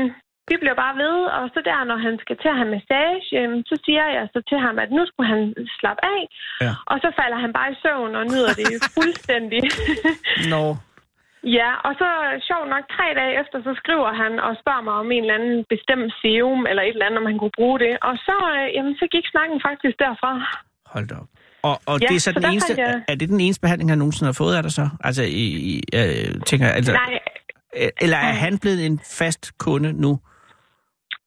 S7: vi bliver bare ved, og så der, når han skal til at have massage, øh, så siger jeg så til ham, at nu skulle han slappe af,
S5: Ja.
S7: og så falder han bare i søvn og nyder det fuldstændig.
S5: Nå.
S7: ja, og så øh, sjovt nok tre dage efter, så skriver han og spørger mig om en eller anden bestemt serum, eller et eller andet, om han kunne bruge det, og så, øh, jamen, så gik snakken faktisk derfra.
S5: Hold da op. Og, og ja,
S7: Ja,
S5: det er så
S7: så
S5: den
S7: der
S5: eneste,
S7: fandt jeg-
S5: er det den eneste behandling, han nogensinde har fået af dig så? Altså, i, i, øh, tænker, jeg, altså,
S7: Nej,
S5: øh, eller er han blevet en fast kunde nu?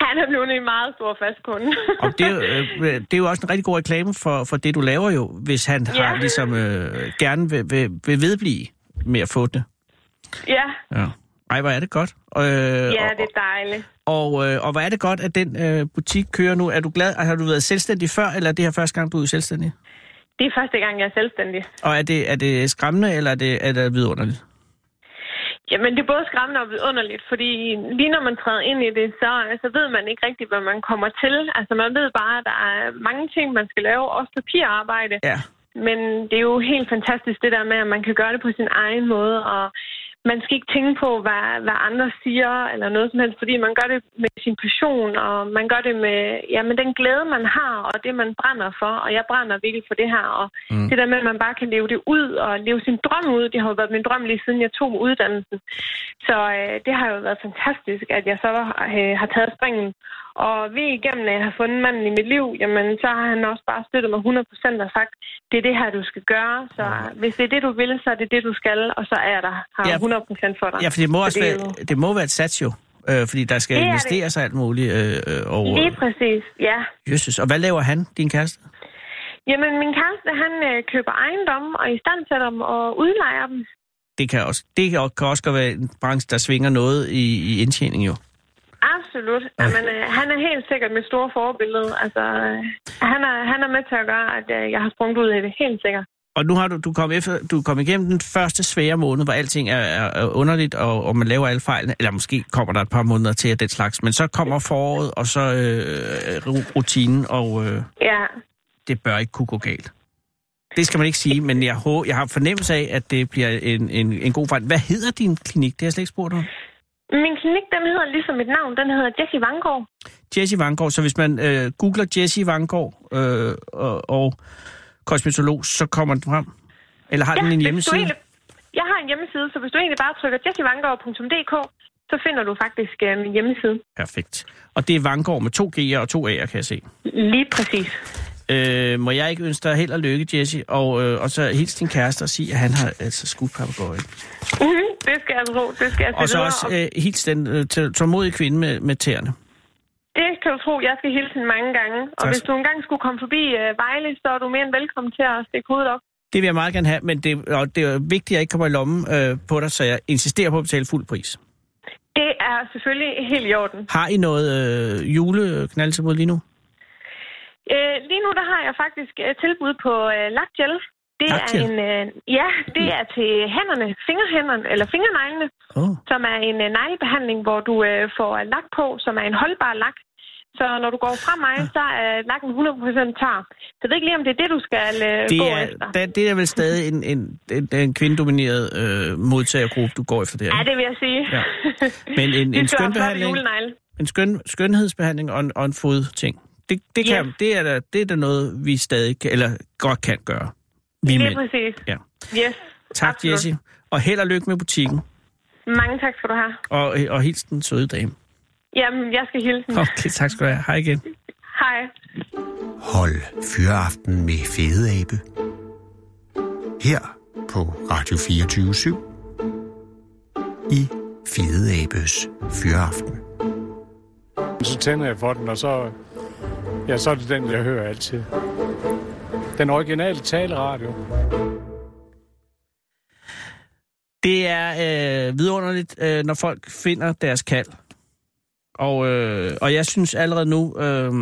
S7: han er blevet en meget stor fast kunde.
S5: Og det, er jo, øh, det er jo også en rigtig god reklame for, for det, du laver jo, hvis han ja.
S7: Ja.
S5: har ligesom øh, gerne vil, vil, vil vedblive med at få det.
S7: ja,
S5: Ja. Ej, hvor er det godt. Øh,
S7: ja,
S5: og,
S7: det er dejligt.
S5: Og, øh, og hvor er det godt, at den øh, butik kører nu. Er du glad? Har du været selvstændig før, eller er det her første gang, du er selvstændig?
S7: Det er første gang, jeg er selvstændig.
S5: Og er det, er det skræmmende, eller er det, er det vidunderligt?
S7: Jamen, det er både skræmmende og vidunderligt, fordi lige når man træder ind i det, så, så ved man ikke rigtigt, hvad man kommer til. Altså, man ved bare, at der er mange ting, man skal lave, også papirarbejde.
S5: Ja.
S7: Men det er jo helt fantastisk det der med, at man kan gøre det på sin egen måde, og man skal ikke tænke på, hvad, hvad andre siger, eller noget som helst, fordi man gør det med sin passion, og man gør det med ja, med den glæde, man har, og det, man brænder for, og jeg brænder virkelig for det her, og mm. det der med, at man bare kan leve det ud, og leve sin drøm ud, det har jo været min drøm lige siden jeg tog uddannelsen. Så øh, det har jo været fantastisk, at jeg så øh, har taget springen, og ved igennem, at jeg har fundet manden i mit liv, jamen så har han også bare støttet mig 100% og sagt, det er det her, du skal gøre, så hvis det er det, du vil, så er det det, du skal, og så er jeg der her
S5: Ja.
S7: 100% for dig.
S5: Ja, for det må, også
S7: Så det er
S5: være,
S7: jo-
S5: det må være et sats jo. Øh, fordi der skal
S7: Det er det.
S5: investeres og alt muligt. Øh, øh, og,
S7: Lige præcis, ja.
S5: Jesus. og hvad laver han, din kæreste?
S7: Jamen, min kæreste, han øh, køber ejendomme og i stand sætter dem og udlejer dem.
S5: Det kan også, det kan også- kan også godt være en branche, der svinger noget i, i indtjening jo.
S7: Absolut. Jamen, øh, han er helt sikkert mit store forbillede. Altså, øh, han, er, han er med til at gøre, at øh, jeg har sprunget ud i det, helt sikkert.
S5: Og nu har du, du kom, efter, du kom igennem den første svære måned, hvor alting er, er er underligt, og, og man laver alle fejlene. Eller måske kommer der et par måneder til at den slags. Men så kommer foråret, og så øh, ru- rutinen, og øh,
S7: Ja,
S5: det bør ikke kunne gå galt. Det skal man ikke sige, men jeg, hå- jeg har fornemmelse af, at det bliver en, en, en god fejl. Hvad hedder din klinik? Det har jeg slet ikke spurgt om.
S7: min klinik, den hedder ligesom mit navn, den hedder Jackie Vangård.
S5: Jesse Vangård. Så hvis man øh, googler Jesse Vangård øh, og, og kosmetolog, så kommer den frem. Eller har den en
S7: hvis du
S5: hjemmeside?
S7: egentlig- Jeg har en hjemmeside, så hvis du egentlig bare trykker jackievangård.dk, så finder du faktisk øh, min hjemmeside.
S5: Perfekt. Og det er Vangård med to G'er og to A'er, kan jeg se.
S7: Lige præcis.
S5: Øh, må jeg ikke ønske dig held og lykke, Jesse, og, øh, og så hils din kæreste og sige, at han har altså skudt papagøjen.
S7: Mhm, det skal jeg tro, det skal jeg
S5: Og så
S7: videre.
S5: også øh, hils den øh, tå- tålmodige kvinde med, med tæerne.
S7: Det kan du tro, jeg skal hilse hende mange gange. Og
S5: Tak.
S7: hvis du engang skulle komme forbi øh, Vejle, så er du mere end velkommen til at stikke hovedet op.
S5: Det vil jeg meget gerne have, men det, og det er vigtigt, at jeg ikke kommer i lommen øh, på dig, så jeg insisterer på at betale fuld pris.
S7: Det er selvfølgelig helt i orden.
S5: Har I noget øh, juleknaldtilbud lige nu?
S7: Øh, lige nu der har jeg faktisk øh, tilbud på øh, lakgel. Det er
S5: Lakgel?
S7: en øh, ja, det er til hænderne, fingerhænderne eller fingerneglene,
S5: Oh.
S7: som er en øh, neglebehandling, hvor du øh, får øh, lak på, som er en holdbar lak. Så når du går fra mig, så er lakken 100% tar. Så jeg ved ikke lige, om det er det, du skal øh,
S5: Det
S7: gå
S5: er,
S7: efter.
S5: da, det er vel stadig en, en, en, en kvindedomineret øh, modtagergruppe, du går efter der.
S7: Ja,
S5: ikke?
S7: det vil jeg sige.
S5: Ja. Men en-
S7: De
S5: en
S7: skal have flotte
S5: skønbehandling.
S7: julenegle.
S5: En skøn, skønhedsbehandling og en, og en fodting. Det, det, kan,
S7: Ja.
S5: det, er da, det er da noget, vi stadig kan, eller godt kan gøre. Vi
S7: Lige
S5: mænd.
S7: præcis.
S5: Ja.
S7: Yes.
S5: Tak,
S7: absolut.
S5: Jesse. Og held og lykke med butikken.
S7: Mange tak skal du have.
S5: Og, øh, og hils den søde dame.
S7: Jamen, jeg skal hilse.
S5: Okay, tak skal du have. Hej igen.
S7: Hej.
S3: Hold Fyraften med Fede Abe. Her på Radio 24 i Fede Abes Fyraften.
S8: Så tænder jeg for den, og så, ja, så er det den, jeg hører altid. Den originale taleradio.
S5: Det er øh, vidunderligt, øh, når folk finder deres kald. Og, øh, og jeg synes allerede nu, øh,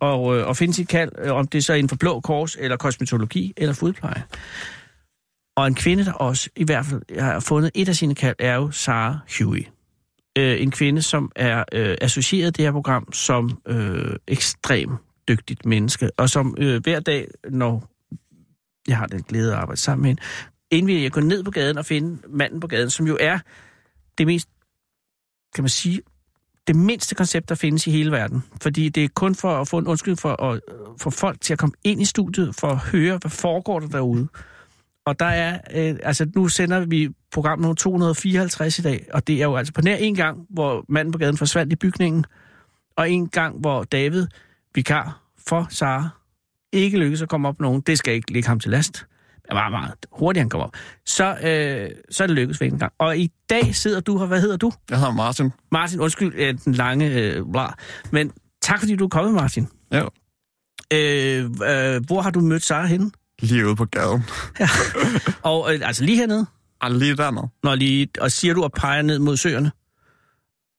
S5: og, øh, at finde sit kald, øh, om det er så inden for blå kors, eller kosmetologi, eller fodpleje. Og en kvinde, der også i hvert fald har fundet et af sine kald, er jo Sarah Huey. Øh, en kvinde, som er øh, associeret i det her program som øh, ekstrem dygtigt menneske, og som øh, hver dag, når jeg har den glæde at arbejde sammen med hende, indvilger jeg at gå ned på gaden og finde manden på gaden, som jo er det mest, kan man sige, det mindste koncept, der findes i hele verden. Fordi det er kun for at få en undskyld for at øh, få folk til at komme ind i studiet for at høre, hvad foregår der derude. Og der er, øh, altså nu sender vi program nummer 254 i dag, og det er jo altså på nær en gang, hvor manden på gaden forsvandt i bygningen, og en gang, hvor David, vikar for Sara, ikke lykkes at komme op med nogen. Det skal ikke ligge ham til last. Det var meget hurtigt, han kom op. Så, øh, så er det lykkedes ved en gang. Og i dag sidder du her. Hvad hedder du?
S9: Jeg hedder Martin.
S5: Martin, undskyld øh, den lange øh, bla. Men tak, fordi du er kommet, Martin.
S9: Ja.
S5: Øh, øh, hvor har du mødt Sara henne?
S9: Lige ude på gaden.
S5: Og, øh, altså lige hernede?
S9: Og lige dernede.
S5: Når lige, og siger du og peger ned mod søerne?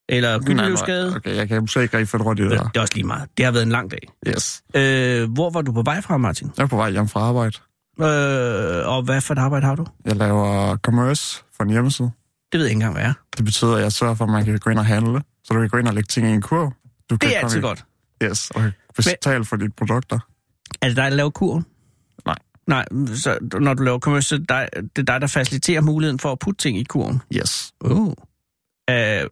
S5: Eller Gyldeløvsgade?
S9: Okay, jeg kan måske ikke rigtig få det rundt i det
S5: Ja.
S9: der.
S5: Det er også lige meget. Det har været en lang dag.
S9: Yes.
S5: Øh, hvor var du på vej fra, Martin?
S9: Jeg er på vej hjem fra arbejde.
S5: Øh, og hvad for et arbejde har du?
S9: Jeg laver commerce for en hjemmeside.
S5: Det ved jeg ikke engang, hvad er.
S9: Det betyder, at jeg sørger for, at man kan gå ind og handle. Så du kan gå ind og lægge ting i en kurv. Du kan
S5: Det er
S9: komme
S5: altid
S9: i-
S5: godt.
S9: Yes, og betale for dine produkter.
S5: Er det dig, der laver kurven?
S9: Nej.
S5: Nej, så når du laver commercial, så er det dig- det er dig, der faciliterer muligheden for at putte ting i kurven.
S9: Yes.
S5: Uh. Øh, øh,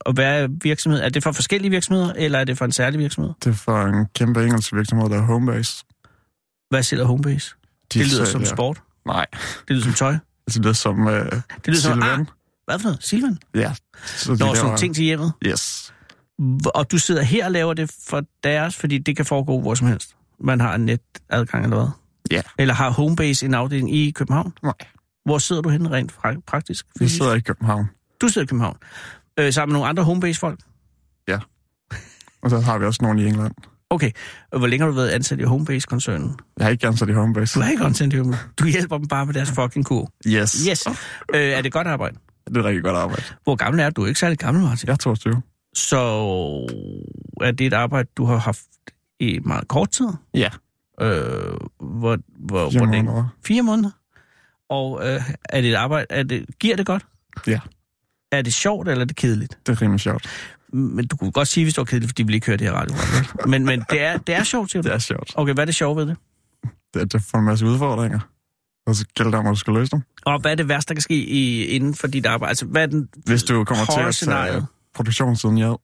S5: og hvad er virksomhed? Er det for forskellige virksomheder, eller er det for en særlig virksomhed?
S9: Det er for en kæmpe engelsk virksomhed, der er Homebase.
S5: Hvad sælger Homebase?
S9: De
S5: det lyder som
S9: sælger-
S5: sport.
S9: Nej,
S5: Det lyder som tøj.
S9: det lyder som... Øh,
S5: Det lyder som...
S9: Silvan.
S5: Ah, hvad for noget? Silvan?
S9: Ja. Så
S5: Nå, sådan
S9: laver-
S5: nogle ting til hjemmet.
S9: Yes.
S5: Hvor- Og du sidder her og laver det for deres, fordi det kan foregå hvor som helst. Man har en netadgang eller hvad?
S9: Ja.
S5: Eller har Homebase en afdeling i København?
S9: Nej,
S5: Hvor sidder du henne rent fra- praktisk?
S9: vi
S5: fysisk?
S9: sidder i København.
S5: Du sidder i København. Øh, sammen med nogle andre Homebase-folk?
S9: Og så har vi også nogen i England.
S5: Okay. Og Hvor længe har du været ansat i Homebase-koncernen?
S9: Jeg har ikke ansat i Homebase.
S5: Du er ikke ansat i Homebase. Du hjælper dem bare med deres fucking kur.
S9: Yes.
S5: Yes. Øh, er det godt arbejde?
S9: Det er et rigtig godt arbejde.
S5: Hvor gammel er du? Du er Ikke særlig gammel, Martin.
S9: Jeg er 22.
S5: Så er det et arbejde, du har haft i meget kort tid?
S9: Ja.
S5: Øh, hvor, hvor,
S9: Fire
S5: hvor længe?
S9: måneder.
S5: Fire måneder. Og øh, er det et arbejde, er det, giver det godt?
S9: Ja.
S5: Er det sjovt, eller er det kedeligt?
S9: Det er rimelig sjovt.
S5: Men du kunne godt sige, hvis det var kedeligt, fordi vi ikke hørte det her radio. men men det, er, det er sjovt, siger du?
S9: Det er sjovt.
S5: Okay, hvad er det sjove ved det?
S9: Det, det får en masse udfordringer. Og så gælder det om, at du skal løse dem.
S5: Og hvad er det værste, der kan ske i, inden for dit arbejde? Altså, hvad er den
S9: Hvis du kommer til
S5: hårde
S9: at
S5: scenarie?
S9: tage produktionssiden i ad.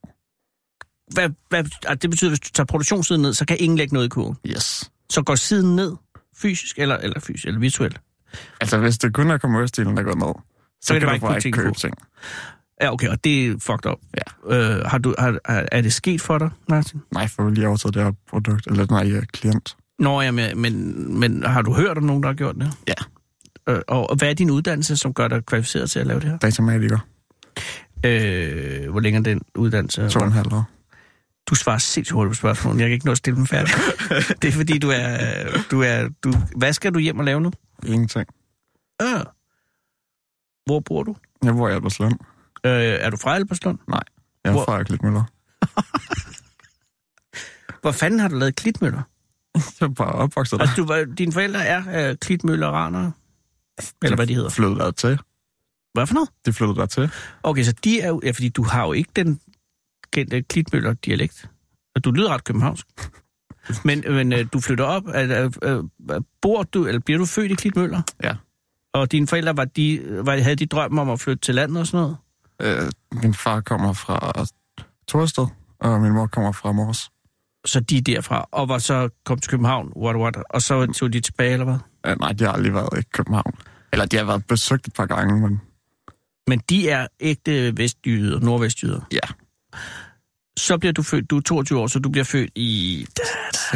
S5: Hvad, hvad, altså, det betyder, at hvis du tager produktionssiden ned, så kan ingen lægge noget i kurven.
S9: Yes.
S5: Så går siden ned fysisk eller, eller fysisk eller visuelt.
S9: Altså, hvis det kun er kommerstilen, der går ned, så, så
S5: kan
S9: kan,
S5: det bare
S9: kan du
S5: ikke
S9: bare
S5: putte
S9: ikke
S5: ting
S9: købe
S5: på.
S9: ting.
S5: Ja, okay, og det er fucked up.
S9: Ja.
S5: Øh, har du, har, har, er det sket for dig, Martin?
S9: Nej, for vi lige overtaget det her produkt, eller nej, øh, klient.
S5: Nå ja, men, men, men har du hørt om nogen, der har gjort det?
S9: Ja.
S5: Øh, og, og hvad er din uddannelse, som gør dig kvalificeret til at lave det her?
S9: Datamatiker.
S5: Øh, hvor længe er den uddannelse?
S9: To og en halv år.
S5: Du svarer sindssygt hurtigt på spørgsmålet. Jeg kan ikke nå at stille dem færdigt. det er fordi, du er... Du er du, hvad skal du hjem og lave nu?
S9: Ingenting.
S5: Øh. Hvor bor du?
S9: Jeg bor i Albertslund.
S5: Øh, er du fra Albertslund?
S9: Nej. Jeg er
S5: Hvor-
S9: fra Klitmøller.
S5: Hvor fanden har du lavet klitmøller?
S9: Jeg er bare opvokset der.
S5: Altså, du, var- dine forældre er øh, klitmøller og ranere? Eller hvad de hedder?
S9: Flyttede der til.
S5: Hvad for noget?
S9: De flyttede der til.
S5: Okay, så de er jo... Ja, fordi du har jo ikke den kendte klitmøller-dialekt. Og Du lyder ret københavnsk. Men, men øh, du flytter op. Øh, øh, øh, bor du, eller bliver du født i klitmøller?
S9: Ja.
S5: Og dine forældre, var de, var, havde de drømmen om at flytte til landet og sådan noget?
S9: Øh, min far kommer fra Torsted, og min mor kommer fra Mors.
S5: Så de er derfra, og var så kom til København, what, what, og så tog de tilbage, eller hvad?
S9: Øh, nej, de har aldrig været i København. Eller de har været besøgt et par gange, men
S5: Men de er ægte vestjyder, nordvestjyder.
S9: ja.
S5: Så bliver du født, du er 22 år, så du bliver født i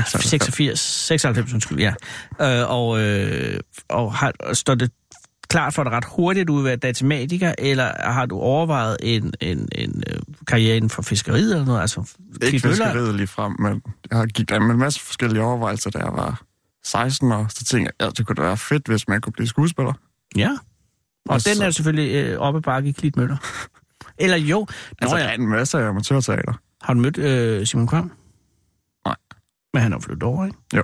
S5: 86, 96, undskyld, ja. Øh, og, øh, og, har, og står det klart for dig ret hurtigt, at du vil være datamatiker, eller har du overvejet en, en, en øh, karriere inden for fiskeriet eller noget? Altså,
S9: Ikke
S5: Klitmøller-
S9: fiskeriet lige frem, men jeg gik der med en masse forskellige overvejelser, da jeg var 16 år. Så tænkte jeg, at det kunne da være fedt, hvis man kunne blive skuespiller.
S5: Ja. Og
S9: Altså-
S5: den er selvfølgelig øh, oppe bakke i klitmøller. Eller jo,
S9: Altså,
S5: altså,
S9: der er en masse af amatørteater.
S5: har du mødt øh, Simon Kvam?
S9: Nej.
S5: Men han er jo flyttet over, ikke?
S9: Jo.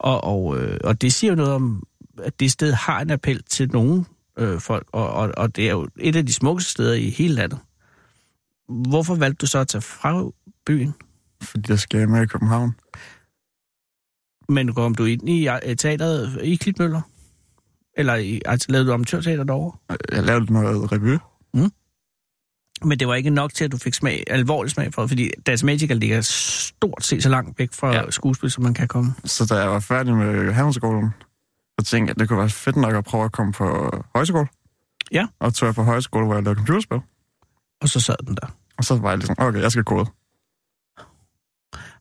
S5: Og, og, øh, og det siger jo noget om, at det sted har en appel til nogle øh, folk, og, og, og det er jo et af de smukkeste steder i hele landet. Hvorfor valgte du så at tage fra byen?
S9: Fordi jeg skal med i København.
S5: Men kom du ind i øh, teateret i Klitmøller? Eller i, altså, lavede du amatørteater derovre?
S9: Jeg lavede noget revy.
S5: Men det var ikke nok til, at du fik smag, alvorlig smag for det, fordi Dansmagica ligger stort set så langt væk fra ja.
S9: Ja.
S5: skuespil, som man kan komme.
S9: Så da jeg var færdig med handelsskolen, så tænkte jeg, at det kunne være fedt nok at prøve at komme på højskole.
S5: Ja.
S9: Og tog jeg på højskole, hvor jeg lavede computerspil.
S5: Og så sad den der.
S9: Og så var jeg ligesom, okay, jeg skal kode.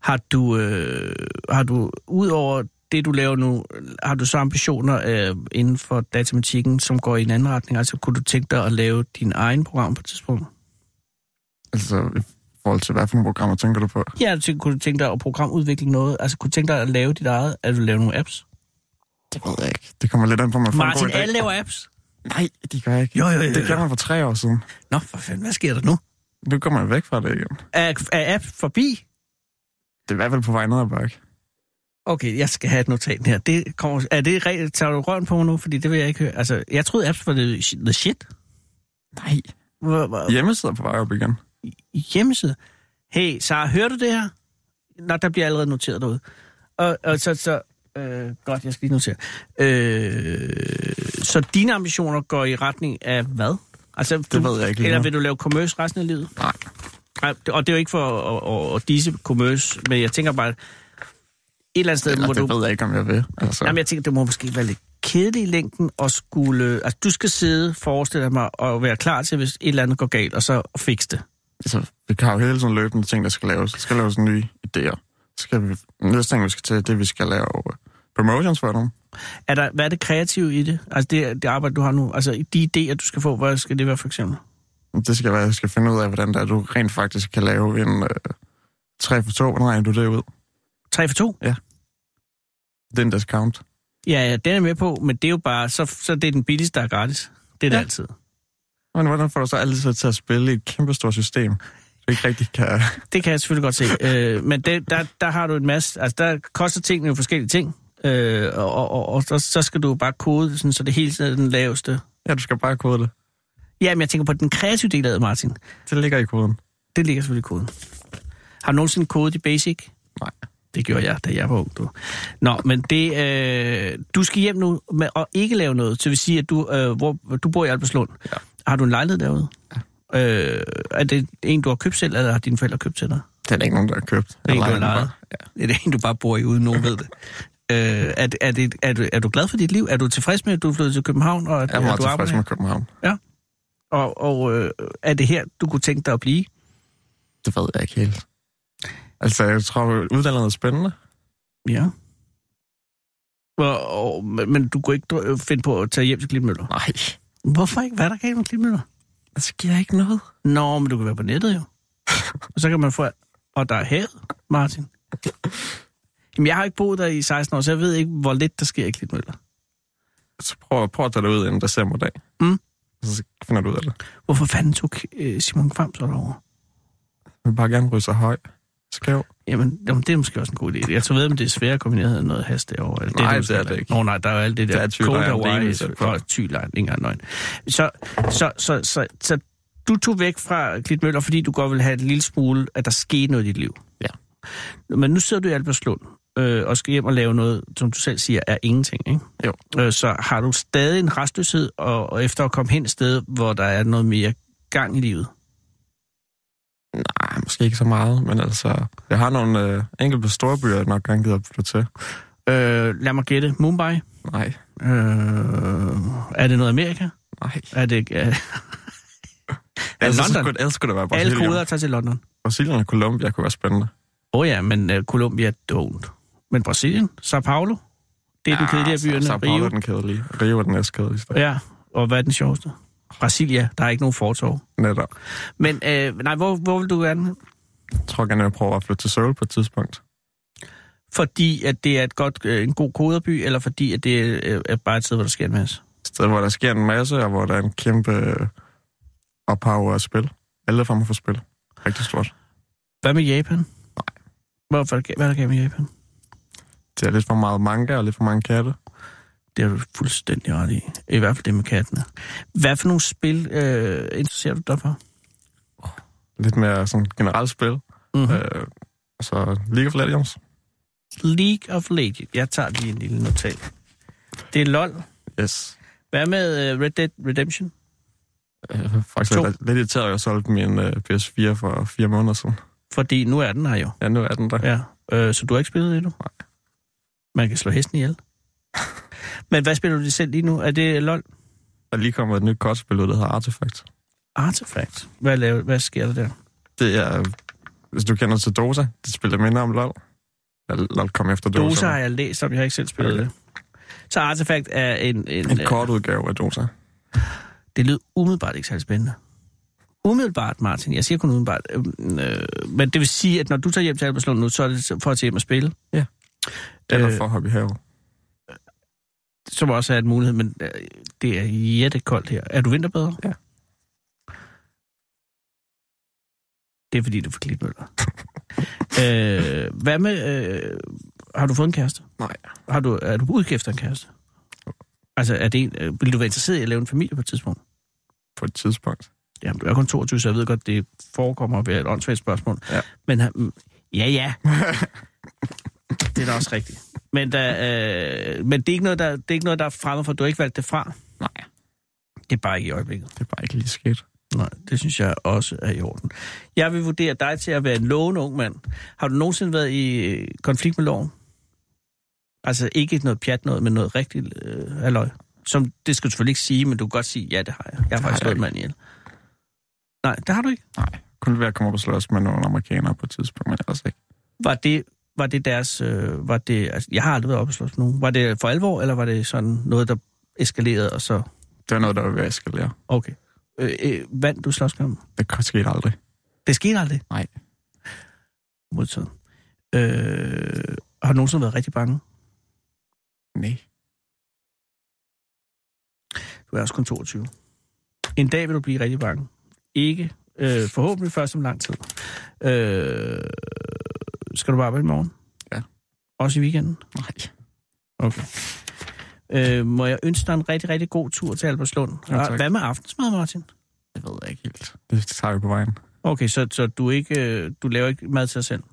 S5: Har du, øh, har du ud over det, du laver nu, har du så ambitioner øh, inden for datamatikken, som går i en anden retning? Altså, kunne du tænke dig at lave din egen program på et tidspunkt?
S9: Altså, i forhold til, hvad for nogle programmer tænker du på?
S5: Ja, du tænker, kunne du tænke dig at programudvikle noget? Altså, kunne du tænke dig at lave dit eget? Altså, lave nogle apps?
S9: Det ved jeg ikke. Det kommer lidt an på, om man får en
S5: Martin,
S9: god idé.
S5: alle laver apps.
S9: Nej, de gør jeg ikke.
S5: Jo, jo, jo,
S9: Det
S5: jo.
S9: gjorde man for tre år siden.
S5: Nå, for fanden, hvad sker der nu?
S9: Nu kommer jeg væk fra det igen.
S5: Er, er app forbi?
S9: Det er i hvert fald på vej ned ad bakke.
S5: Okay, jeg skal have et notat her. Det kommer, er det regel, tager du røven på mig nu? Fordi det vil jeg ikke høre. Altså, jeg troede apps var the, shi- the shit.
S9: Nej.
S5: Hvor- hvor-
S9: Hjemmesider er på vej op igen.
S5: Hjemmeside. Hey, Sara, hører du det her? Nå, der bliver allerede noteret derude. Og, og så, så, Øh, godt, jeg skal lige notere. Øh, så dine ambitioner går i retning af hvad? Altså, det
S9: ved jeg ikke lige
S5: Eller
S9: nu.
S5: vil du lave commerce resten af livet?
S9: Nej.
S5: Nej, det- og det er jo ikke for at, at, at disse commerce, men jeg tænker bare, et eller andet sted
S9: Eller,
S5: må
S9: altså, det
S5: du...
S9: ved jeg ikke, om jeg vil. Altså,
S5: Jamen,
S9: Jamen,
S5: jeg tænker, det må måske være lidt kedeligt i længden at skulle... Altså, du skal sidde, forestille mig, og være klar til, hvis et eller andet går galt, og så fikse det.
S9: altså, vi har jo hele tiden løbende ting, der skal laves. Der skal laves nye idéer. Så skal vi, næste ting, vi skal til, det er, at vi skal lave øh, promotions for dem.
S5: Er der, hvad er det kreative i det? Altså, det, det arbejde, du har nu? Altså, de idéer, du skal få, hvad skal det være, for eksempel?
S9: Det skal være, jeg skal finde ud af, hvordan det er, du rent faktisk kan lave en øh, 3 for 2. Hvordan regner du det ud?
S5: 3 for 2?
S9: Det er en discount.
S5: Ja, ja, den er jeg med på, men det er jo bare... Så, så det er den billigste, der er gratis. Det er det
S9: Ja.
S5: altid.
S9: Men hvordan får du så altid til at spille i et kæmpestort system, du ikke rigtig kan...
S5: Det kan jeg selvfølgelig godt se. Øh, men det, der, der har du en masse... Altså, der koster tingene jo forskellige ting. Øh, og, og, og, og så- så skal du jo bare kode, sådan, så det hele tiden er den laveste.
S9: Ja, du skal bare kode det.
S5: Ja, men jeg tænker på den kreative del af det, Martin.
S9: Det ligger i koden.
S5: Det ligger selvfølgelig i koden. Har du nogensinde kodet i Basic?
S9: Nej.
S5: Det gjorde jeg, da jeg var ung. Du. Nå, men det, øh, du skal hjem nu med, og ikke lave noget. Så det vil sige, at du, øh, hvor, du bor i Albertslund.
S9: Ja.
S5: Har du en lejlighed derude? Ja. Øh, er det en, du har købt selv, eller har dine forældre købt til dig?
S9: Det er der ikke nogen, der har købt.
S5: Det er en, du
S9: Eller
S5: har lejet. Ja. Det er en, du bare bor i, uden nogen ved det. Øh, er, det- er, det, er, du, er du glad for dit liv? Er du tilfreds med, at du er flyttet til København? Og at,
S9: Jeg er meget
S5: at du arbejder
S9: tilfreds
S5: her?
S9: med København.
S5: Og, og øh, er det her, du kunne tænke dig at blive?
S9: Det ved jeg ikke helt. Altså, jeg tror, udlandet er spændende.
S5: Ja. Og, og, men men du kunne ikke dr- finde på at tage hjem til Klitmøller?
S9: Nej,
S5: Hvorfor ikke? Hvad er der galt med Klitmøller?
S9: det sker ikke noget.
S5: Nå, men du kan være på nettet jo. og så kan man få... Og der er havet, Martin. Jamen, jeg har ikke boet der i 16 år, så jeg ved ikke, hvor lidt der sker i Klitmøller.
S9: Så prøv, prøv at tage det ud inden decemberdag.
S5: Mm.
S9: Så finder du ud af det.
S5: Hvorfor fanden tog øh, Simon Kvam så derovre?
S9: Jeg vil bare gerne ryge sig høj. Skæv.
S5: Jamen, jamen, det er måske også en god idé. Jeg tror ved, om det er svært at kombinere noget hast derovre. Eller
S9: Nej,
S5: måske
S9: det er det
S5: heller
S9: ikke.
S5: Nå, nej, der er jo alt det der.
S9: Der er Thy Line alene, så-
S5: Tylejren, ikke engang løgn. Så, så, så, så, så, du tog væk fra Klitmøller, fordi du godt ville have en lille smule, at der skete noget i dit liv. Ja. Men nu sidder du i Albertslund øh, og skal hjem og lave noget, som du selv siger, er ingenting, ikke?
S9: Jo.
S5: Øh, så har du stadig en restløshed, og, og efter at komme hen et sted, hvor der er noget mere gang i livet.
S9: Nej, måske ikke så meget, men altså... Jeg har nogle øh, enkelte store byer, jeg nok gerne gider at flytte til.
S5: Øh, lad mig gætte, Mumbai?
S9: Nej,
S5: Øh, er det noget Amerika?
S9: nej.
S5: Er det er, er
S9: Altså, så
S5: London?
S9: kunne, ellers skulle det være
S5: Alle
S9: Brasilien.
S5: koder tager til London.
S9: Brasilien og Colombia kunne være spændende.
S5: Åh oh ja, men uh, Colombia don't. Men Brasilien? Sao Paulo? Det er ja, den kedelige af byerne.
S9: Ah, Sao Paulo
S5: Rio?
S9: altså, er den kedelige. Rio er den næstkedeligste.
S5: Ja, og hvad er den sjoveste? Brasilia, der er ikke nogen fortov.
S9: Netop.
S5: Men øh, nej, hvor, hvor vil du gerne?
S9: Jeg tror gerne, jeg prøver at flytte til Seoul på et tidspunkt.
S5: Fordi at det er et godt, øh, en god koderby, eller fordi at det øh, er bare et sted, hvor der sker en masse?
S9: Et sted, hvor der sker en masse, og hvor der er en kæmpe øh, ophav af spil. Alle er fremme for spil. Rigtig stort.
S5: Hvad med Japan? Nej. Hvorfor, hvad er der galt med Japan?
S9: Det er lidt for meget manga og lidt for mange katte.
S5: Det har du fuldstændig ret i. I hvert fald det med kattene. Hvad for nogle spil øh, interesserer du dig for?
S9: Lidt mere sådan generelt spil.
S5: Mm-hmm.
S9: Øh, så League of Legends.
S5: League of Legends. Jeg tager lige en lille notat. Det er LOL.
S9: Yes.
S5: Hvad med øh, Red Dead Redemption?
S9: Øh, faktisk
S5: To.
S9: er jeg lidt irriteret, at jeg solgte min øh, PS4 for fire måneder siden.
S5: Fordi nu er den her jo.
S9: Ja, nu er den der.
S5: Ja. Øh, så du har ikke spillet det endnu? Nej. Man kan slå hesten ihjel. Men hvad spiller du det selv lige nu? Er det LOL?
S9: Der er lige kommet et nyt kortspil ud, der hedder Artifact.
S5: Artifact. Hvad, laver, hvad sker der der?
S9: Det er, øh, hvis du kender til Dota, det spiller minder om LoL. Ja, LoL kom efter Dota.
S5: Dosa har jeg læst om, jeg har ikke selv spillet okay.
S9: Okay.
S5: det. Så Artifact er en... en, øh,
S9: En kort udgave af Dota.
S5: Det lød umiddelbart ikke særlig spændende. Umiddelbart, Martin. Jeg siger kun umiddelbart. Øh, øh, men det vil sige, at når du tager hjem til Albertslund nu, så er det for at tage hjem og spille.
S9: Ja. Eller
S5: Øh,
S9: for Hobby Have.
S5: som også er en mulighed, men øh, det er jættekoldt her. Er du vinterbedre?
S9: Ja.
S5: Det er fordi, du får klitmøller. øh, hvad med... Øh, har du fået en kæreste?
S9: Nej.
S5: Har du, er du på udkig efter en kæreste? Altså, er det en, øh, vil du være interesseret i at lave en familie på et tidspunkt?
S9: På et tidspunkt.
S5: Jamen, du er kun 22, så jeg ved godt, det forekommer at være et åndssvagt spørgsmål.
S9: Ja.
S5: Men han- mm, ja, ja. det er da også rigtigt. Men, der, øh, men det, er ikke noget, der, det er ikke noget, der er fremme for, du har ikke valgt det fra.
S9: Nej,
S5: Det er bare ikke i øjeblikket.
S9: det er bare ikke lige sket.
S5: Nej, det synes jeg også er i orden. Jeg vil vurdere dig til at være en lovende ung mand. Har du nogensinde været i øh, konflikt med loven? Altså ikke noget pjat noget, men noget rigtigt øh, aløj. Som, det skal du selvfølgelig ikke sige, men du kan godt sige, ja, det har jeg. Jeg har faktisk
S9: jeg
S5: slået
S9: ikke.
S5: mand ihjel. Nej, det har du ikke.
S9: Nej, kun ved at komme op og slås med nogle amerikanere på et tidspunkt, men ellers ikke.
S5: Var det, var det deres... Øh, var det, altså, jeg har aldrig været oppe og slås med nogen. Var det for alvor, eller var det sådan noget, der eskalerede, og så...
S9: Det er noget, der vil være eskalere.
S5: Okay. Øh, øh, vandt du slåskampen?
S9: Det skete aldrig.
S5: Det skete aldrig.
S9: Nej.
S5: Modtaget. Øh, har du nogensinde været rigtig bange?
S9: Nej.
S5: Du er også kun 22. En dag vil du blive rigtig bange. Ikke øh, forhåbentlig først om lang tid. Øh, skal du bare arbejde i morgen?
S9: Ja.
S5: Også i weekenden?
S9: Nej.
S5: Okay. Øh, må jeg ønske dig en rigtig, rigtig god tur til Albertslund?
S9: Ja, tak.
S5: Og Hvad med aftensmad, Martin?
S9: Det ved jeg ikke helt. Det tager vi på vejen.
S5: Okay, så, så du, ikke, øh, du laver ikke mad til dig selv?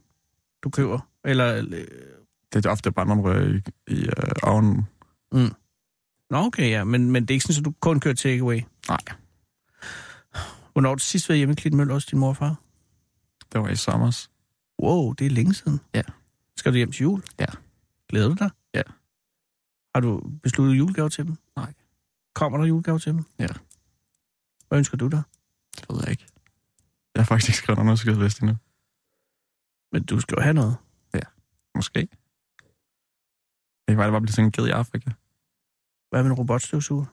S5: Du køber? Eller... Øh,
S9: Det er ofte bandomrør i, i øh, ovnen.
S5: nå, okay, ja. Men, men det er ikke sådan, at du kun kører takeaway.
S9: Nej,
S5: Hvornår har du sidst været hjemme i Klitmøller hos din mor og far?
S9: det var i sommer.
S5: Wow, det er længe siden.
S9: Ja.
S5: Skal du hjem til jul?
S9: Ja.
S5: Glæder du dig?
S9: Ja.
S5: Har du besluttet julegave til dem?
S9: Nej.
S5: Kommer der julegave til dem?
S9: Ja.
S5: Hvad ønsker du dig?
S9: Det ved jeg ikke. Jeg har faktisk ikke skrevet nogen skidliste endnu.
S5: Men du skal jo have noget.
S9: Måske. Det var det bare blive sådan en ged i Afrika.
S5: Hvad med en robotstøvsuger?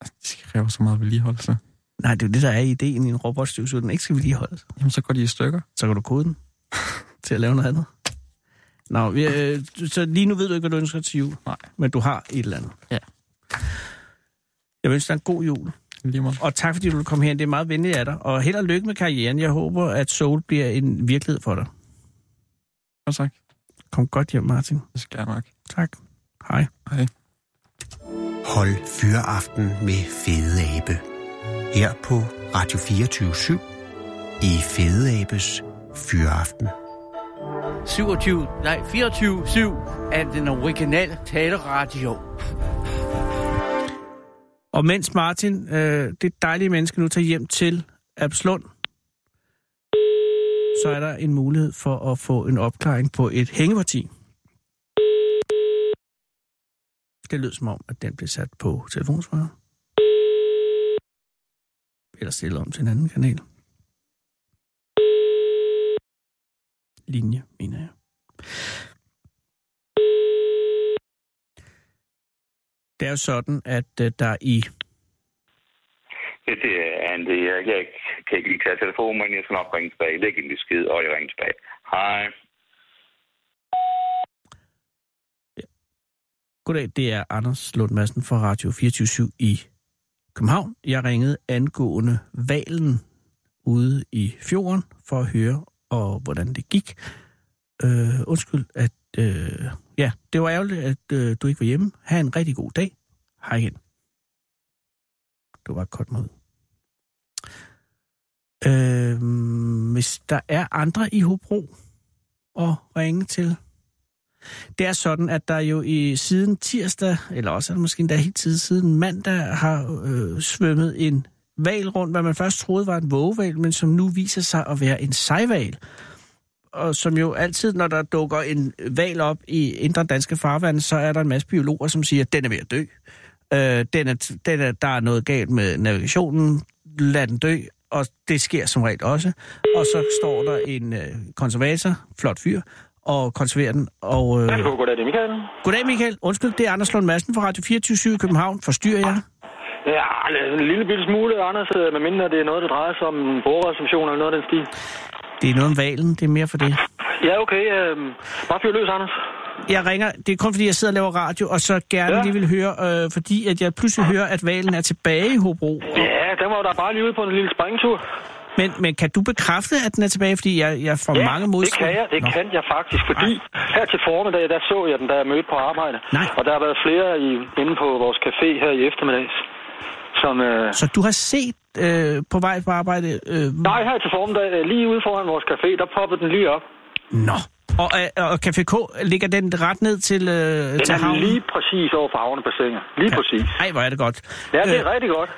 S9: Altså, de kræver så meget vedligeholdelse.
S5: Nej, det er jo det, der er i ideen i en robotstøvsuger. Den ikke skal vedligeholdes.
S9: Jamen, så går de i stykker.
S5: Så kan du kode den til at lave noget andet. Nå, vi, øh, så lige nu ved du ikke, hvad du ønsker til jul.
S9: Nej.
S5: Men du har et eller andet.
S9: Ja.
S5: Jeg vil ønske dig en god jul.
S9: Lige meget.
S5: og tak fordi du kom herind. Det er meget venligt af dig. Og held og lykke med karrieren. Jeg håber, at Soul bliver en virkelighed for dig.
S9: Og tak.
S5: Kom godt hjem, Martin.
S9: Det skal jeg nok.
S5: Tak. Hej.
S9: Hej.
S3: Hold fyreaften med Fede Abe. Her på Radio 24 i Fede Abes Fyreaften.
S10: 27, nej 24-7 af den originale taleradio.
S5: Og mens Martin, øh, det dejlige menneske, nu tager hjem til Abslund, så er der en mulighed for at få en opklaring på et hængeparti. Det lød som om, at den blev sat på telefonsvarer. Eller stillet om til en anden kanal. Linje, mener jeg. Det er jo sådan, at øh, der i
S11: Ja, det er Andy. Jeg kan ikke, kan ikke lige tage telefonen, men jeg skal nok ringe tilbage. Læg en besked, og jeg ringer tilbage. Hej.
S5: Goddag, det er Anders Lund Madsen fra Radio 24 i København. Jeg ringede angående valen ude i fjorden for at høre, og hvordan det gik. Øh, undskyld, at... Øh, ja, det var ærgerligt, at øh, du ikke var hjemme. Ha' en rigtig god dag. Hej igen. Du var godt mod. Øh, hvis der er andre i Hobro at ringe til, det er sådan, at der jo i siden tirsdag, eller også er det måske endda helt tid siden mandag, har øh, svømmet en val rundt, hvad man først troede var en vågeval, men som nu viser sig at være en sejval. Og som jo altid, når der dukker en val op i indre danske farvande, så er der en masse biologer, som siger, at den er ved at dø. Øh, den er, den er, der er noget galt med navigationen. Lad den dø. Og det sker som regel også. Og så står der en øh, konservator, flot fyr, og konserverer den. Og, øh,
S11: Goddag, det er Michael.
S5: Goddag, Michael. Undskyld, det er Anders Lund Madsen fra Radio 24 i København. Forstyrrer jeg?
S11: Ja, en lille bitte smule, Anders, med mindre det er noget, der drejer sig om en borgerreception eller noget af den stil.
S5: Det er noget om valen, det er mere for det.
S11: Ja, okay. Øh, bare fyr løs, Anders.
S5: Jeg ringer, det er kun fordi, jeg sidder og laver radio, og så gerne ja.
S11: Ja.
S5: lige vil høre, øh, fordi at jeg pludselig hører, at valen er tilbage i Hobro.
S11: Ja, den var jo da bare lige ude på en lille springtur.
S5: Men, men kan du bekræfte, at den er tilbage? Fordi jeg, jeg får
S11: Ja,
S5: mange
S11: det
S5: modstand.
S11: kan jeg, det
S5: Nå.
S11: kan jeg faktisk, fordi her til formiddag, der så jeg den, da jeg mødte på arbejde.
S5: Nej.
S11: Og der har været flere i, inde på vores café her i eftermiddags, som... Øh,
S5: Så du har set øh, på vej på arbejde? Øh,
S11: Nej, her til formiddag, øh, lige ude foran vores café, der poppede den lige op.
S5: Nå. Og, og, og Café K, øh, ligger den ret ned til, øh,
S12: Den
S5: til
S12: er
S5: havnen?
S12: lige præcis over for havne bassinet. Lige ja. præcis.
S5: Ej, hvor er det godt.
S12: Ja, det er
S5: Øh,
S12: rigtig godt.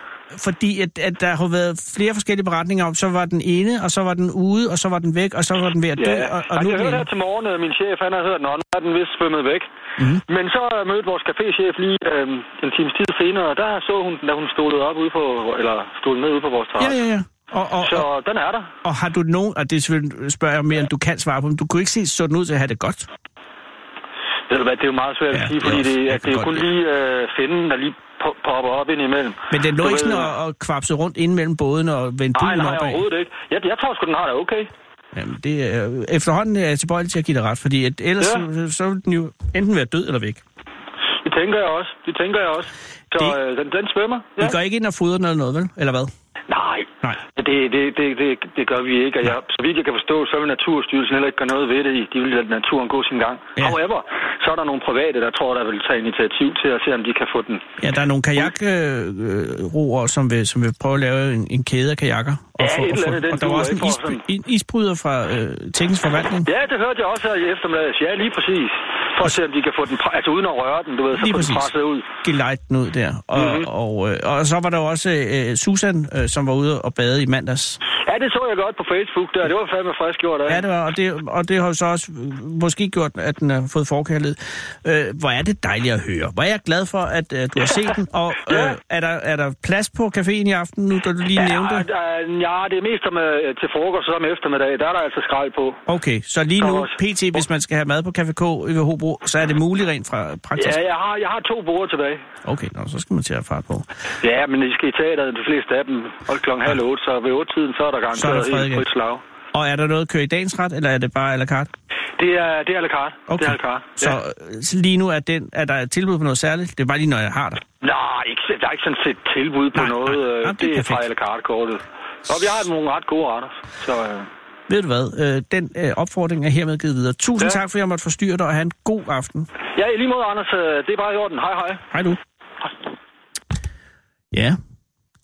S5: Fordi at, at der har været flere forskellige beretninger om, så var den ene, og så var den ude, og så var den væk, og så var den ved at dø,
S12: Ja,
S5: og,
S12: og
S5: og nu
S12: jeg
S5: er
S12: hørte
S5: den inde.
S12: her til morgen, at min chef han har hørt den, og nu er den vist svømmet væk.
S5: Mhm.
S12: Men så øh, mødte vores caféchef lige øh, en times tid senere, og der så hun, da hun stod op ude på, eller stod ned ude på vores terrasse.
S5: Ja, ja, ja. Og, og,
S12: Så øh,
S5: og,
S12: den er der.
S5: og har du nogen, og det er selvfølgelig, spørger jeg mere, end du kan svare på, men du kunne ikke se sådan ud til at have det godt?
S12: Ved du hvad, det er jo meget svært
S5: Ja,
S12: at sige, fordi
S5: det er
S12: det,
S5: også- jeg
S12: at
S5: kan
S12: det er jo
S5: godt
S12: kun
S5: lide.
S12: lige øh, finden, der lige po- popper op ind imellem.
S5: Men den lå
S12: Du
S5: ikke sådan
S12: ved-
S5: og, og kvapsede rundt ind mellem båden og vendte
S12: Nej,
S5: bulen
S12: nej,
S5: opad?
S12: overhovedet ikke. Jeg, jeg tror sgu, den har det okay.
S5: Jamen, det er, efterhånden er jeg tilbøjelig til at give dig ret, fordi at ellers
S12: Ja.
S5: ja. så, så vil den jo enten være død eller væk.
S12: Det tænker jeg også. Det tænker jeg også. Så
S5: Det-
S12: øh, den, den svømmer.
S5: Ja. I går ikke ind og fodrer den eller noget, vel? Eller hvad?
S12: Nej,
S5: Nej.
S12: det, det, det, det, det gør vi ikke. Og jeg, så vidt jeg kan forstå, så vil Naturstyrelsen heller ikke gøre noget ved det. De vil lade naturen gå sin gang. Ja. However, så er der nogle private, der tror, der vil tage initiativ til at se, om de kan få den.
S5: Ja, der er nogle kajakroer, som vil, som vil prøve at lave en, en kæde af kajakker.
S12: Ja, et eller andet, den
S5: og der var
S12: duer
S5: også en,
S12: ikke for
S5: isbry, en isbryder fra øh, teknisk forvaltning.
S12: Ja, det hørte jeg også her i eftermiddags. Ja, lige præcis. For at se, om de kan få den, pre- altså uden at røre den, du ved, så
S5: Lige
S12: få den
S5: præcis.
S12: presset ud.
S5: Gelejt den ud der. Og, mm-hmm.
S12: Mhm.
S5: og, øh, og så var der jo også øh, Susan, øh, som var ude og bade i mandags.
S12: Ja, det så jeg godt på Facebook der. Det var fandme frisk gjort af.
S5: Ja, det var, og det, og det har jo så også øh, måske gjort, at den har fået forkærlighed. Øh, hvor er det dejligt at høre. Hvor er jeg glad for, at øh, du har set den. Og øh, er, der, er der plads på caféen i aften nu, da du lige nævnte?
S12: Ja, der- ja, det er mest om, øh, til frokost og om eftermiddag. Der er der altså skrald på.
S5: Okay, så lige nu,
S12: Thomas.
S5: pt, hvis man skal have mad på Café K i Hobro, så er det muligt rent fra praktisk?
S12: Ja, jeg har, jeg har to borde tilbage.
S5: Okay, nå, så skal man til at have fart på.
S12: Ja, men de skal i teateret, de fleste af dem. Og klokken halv otte, så ved otte tiden, så er der
S5: Så er der
S12: garanteret
S5: fred
S12: helt
S5: igen.
S12: frit slag.
S5: Og er der noget at køre i dagens ret, eller er det bare à la carte?
S12: Det er, det er à la carte. Det er à la carte.
S5: Så, øh, så lige nu er, den, er der et tilbud på noget særligt? Det er bare lige, når jeg har det.
S12: Nej, ikke, der er ikke sådan set tilbud på
S5: Nej,
S12: noget.
S5: nej.
S12: øh,
S5: Jamen, det
S12: det
S5: er
S12: er fra à
S5: perfekt.
S12: la carte-kortet. Og vi har nogle ret gode retter. Så øh,
S5: Ved du hvad? Øh, Den øh, opfordring er hermed givet videre. Tusind ja. tak, for at jeg måtte forstyrre dig, og have en god aften.
S12: ja, i lige måde, Anders. øh, Det er bare i orden. Hej, hej.
S5: Hej du. Ja,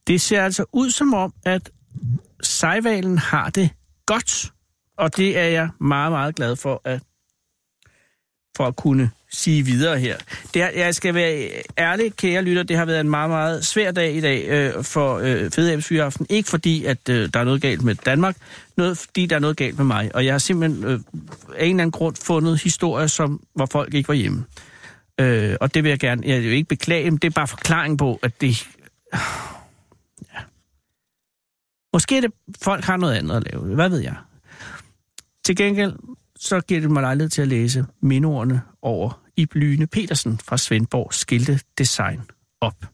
S5: det ser altså ud som om, at sejvalen har det godt. Og det er jeg meget, meget glad for at, for at kunne sige videre her. Det har, jeg skal være ærlig, kære lytter, det har været en meget, meget svær dag i dag øh, for øh, Fedeabsfyraften. Ikke fordi, at øh, der er noget galt med Danmark, noget fordi, der er noget galt med mig. Og jeg har simpelthen øh, af en eller anden grund fundet historier, som, hvor folk ikke var hjemme. Øh, og det vil jeg gerne, jeg vil ikke beklage, men det er bare forklaring på, at det... Ja. Måske er det, folk har noget andet at lave, hvad ved jeg. Til gengæld, så giver det mig lejlighed til at læse mindordene over Ib Lyne Petersen fra Svendborg Skilte Design op.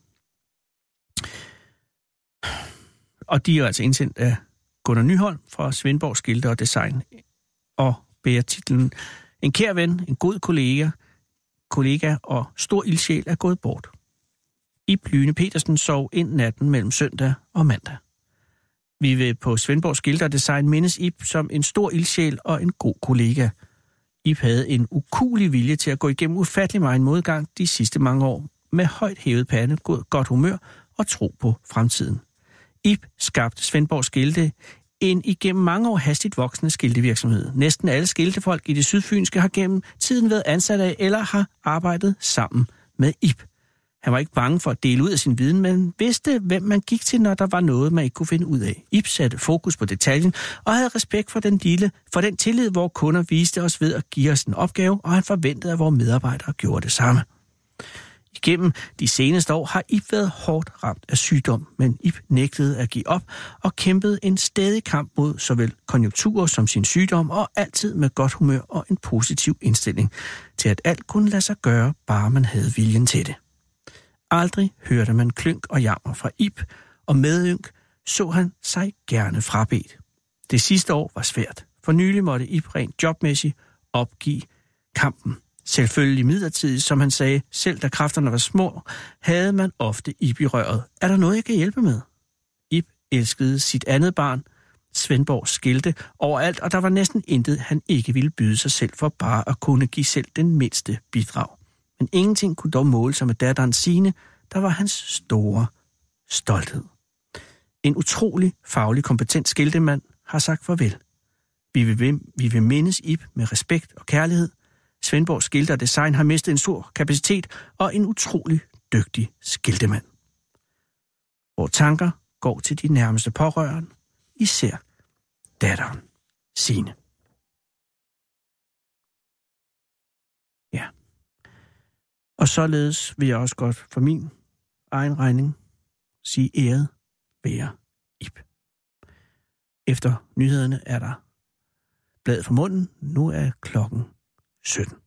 S5: Og de er altså indsendt af Gunnar Nyholm fra Svendborg Skilte og Design og bærer titlen En kær ven, en god kollega, kollega og stor ildsjæl er gået bort. I Lyne Petersen sov ind natten mellem søndag og mandag. Vi vil på Svendborg Skilter Design mindes Ip som en stor ildsjæl og en god kollega. Ip havde en ukulig vilje til at gå igennem ufattelig meget modgang de sidste mange år, med højt hævet pande, god, godt humør og tro på fremtiden. Ip skabte Svendborg Skilte, en igennem mange år hastigt voksende skiltevirksomhed. Næsten alle skiltefolk i det sydfynske har gennem tiden været ansat af eller har arbejdet sammen med Ip. Han var ikke bange for at dele ud af sin viden, men vidste, hvem man gik til, når der var noget, man ikke kunne finde ud af. Ip satte fokus på detaljen og havde respekt for den lille, for den tillid, vores kunder viste os ved at give os en opgave, og han forventede, at vores medarbejdere gjorde det samme. Igennem de seneste år har Ip været hårdt ramt af sygdom, men Ip nægtede at give op og kæmpede en stædig kamp mod såvel konjunkturer som sin sygdom, og altid med godt humør og en positiv indstilling til, at alt kunne lade sig gøre, bare man havde viljen til det. Aldrig hørte man klynk og jammer fra Ip, og med ynk så han sig gerne frabedt. Det sidste år var svært. For nylig måtte Ip rent jobmæssigt opgive kampen. Selvfølgelig midlertidigt, som han sagde, selv da kræfterne var små, havde man ofte Ip i røret. Er der noget, jeg kan hjælpe med? Ip elskede sit andet barn, Svendborg skilte overalt, og der var næsten intet, han ikke ville byde sig selv for bare at kunne give selv den mindste bidrag. Men ingenting kunne dog måle sig med datteren Sine, der var hans store stolthed. En utrolig faglig kompetent skiltemand har sagt farvel. Vi vil, vi vil mindes Ib med respekt og kærlighed. Svendborg Skilter Design har mistet en stor kapacitet og en utrolig dygtig skiltemand. Vores tanker går til de nærmeste pårørende, især datteren Sine. Ja. Og således vil jeg også godt for min egen regning sige æret være Ib. Efter nyhederne er der blad for munden. Nu er klokken 17.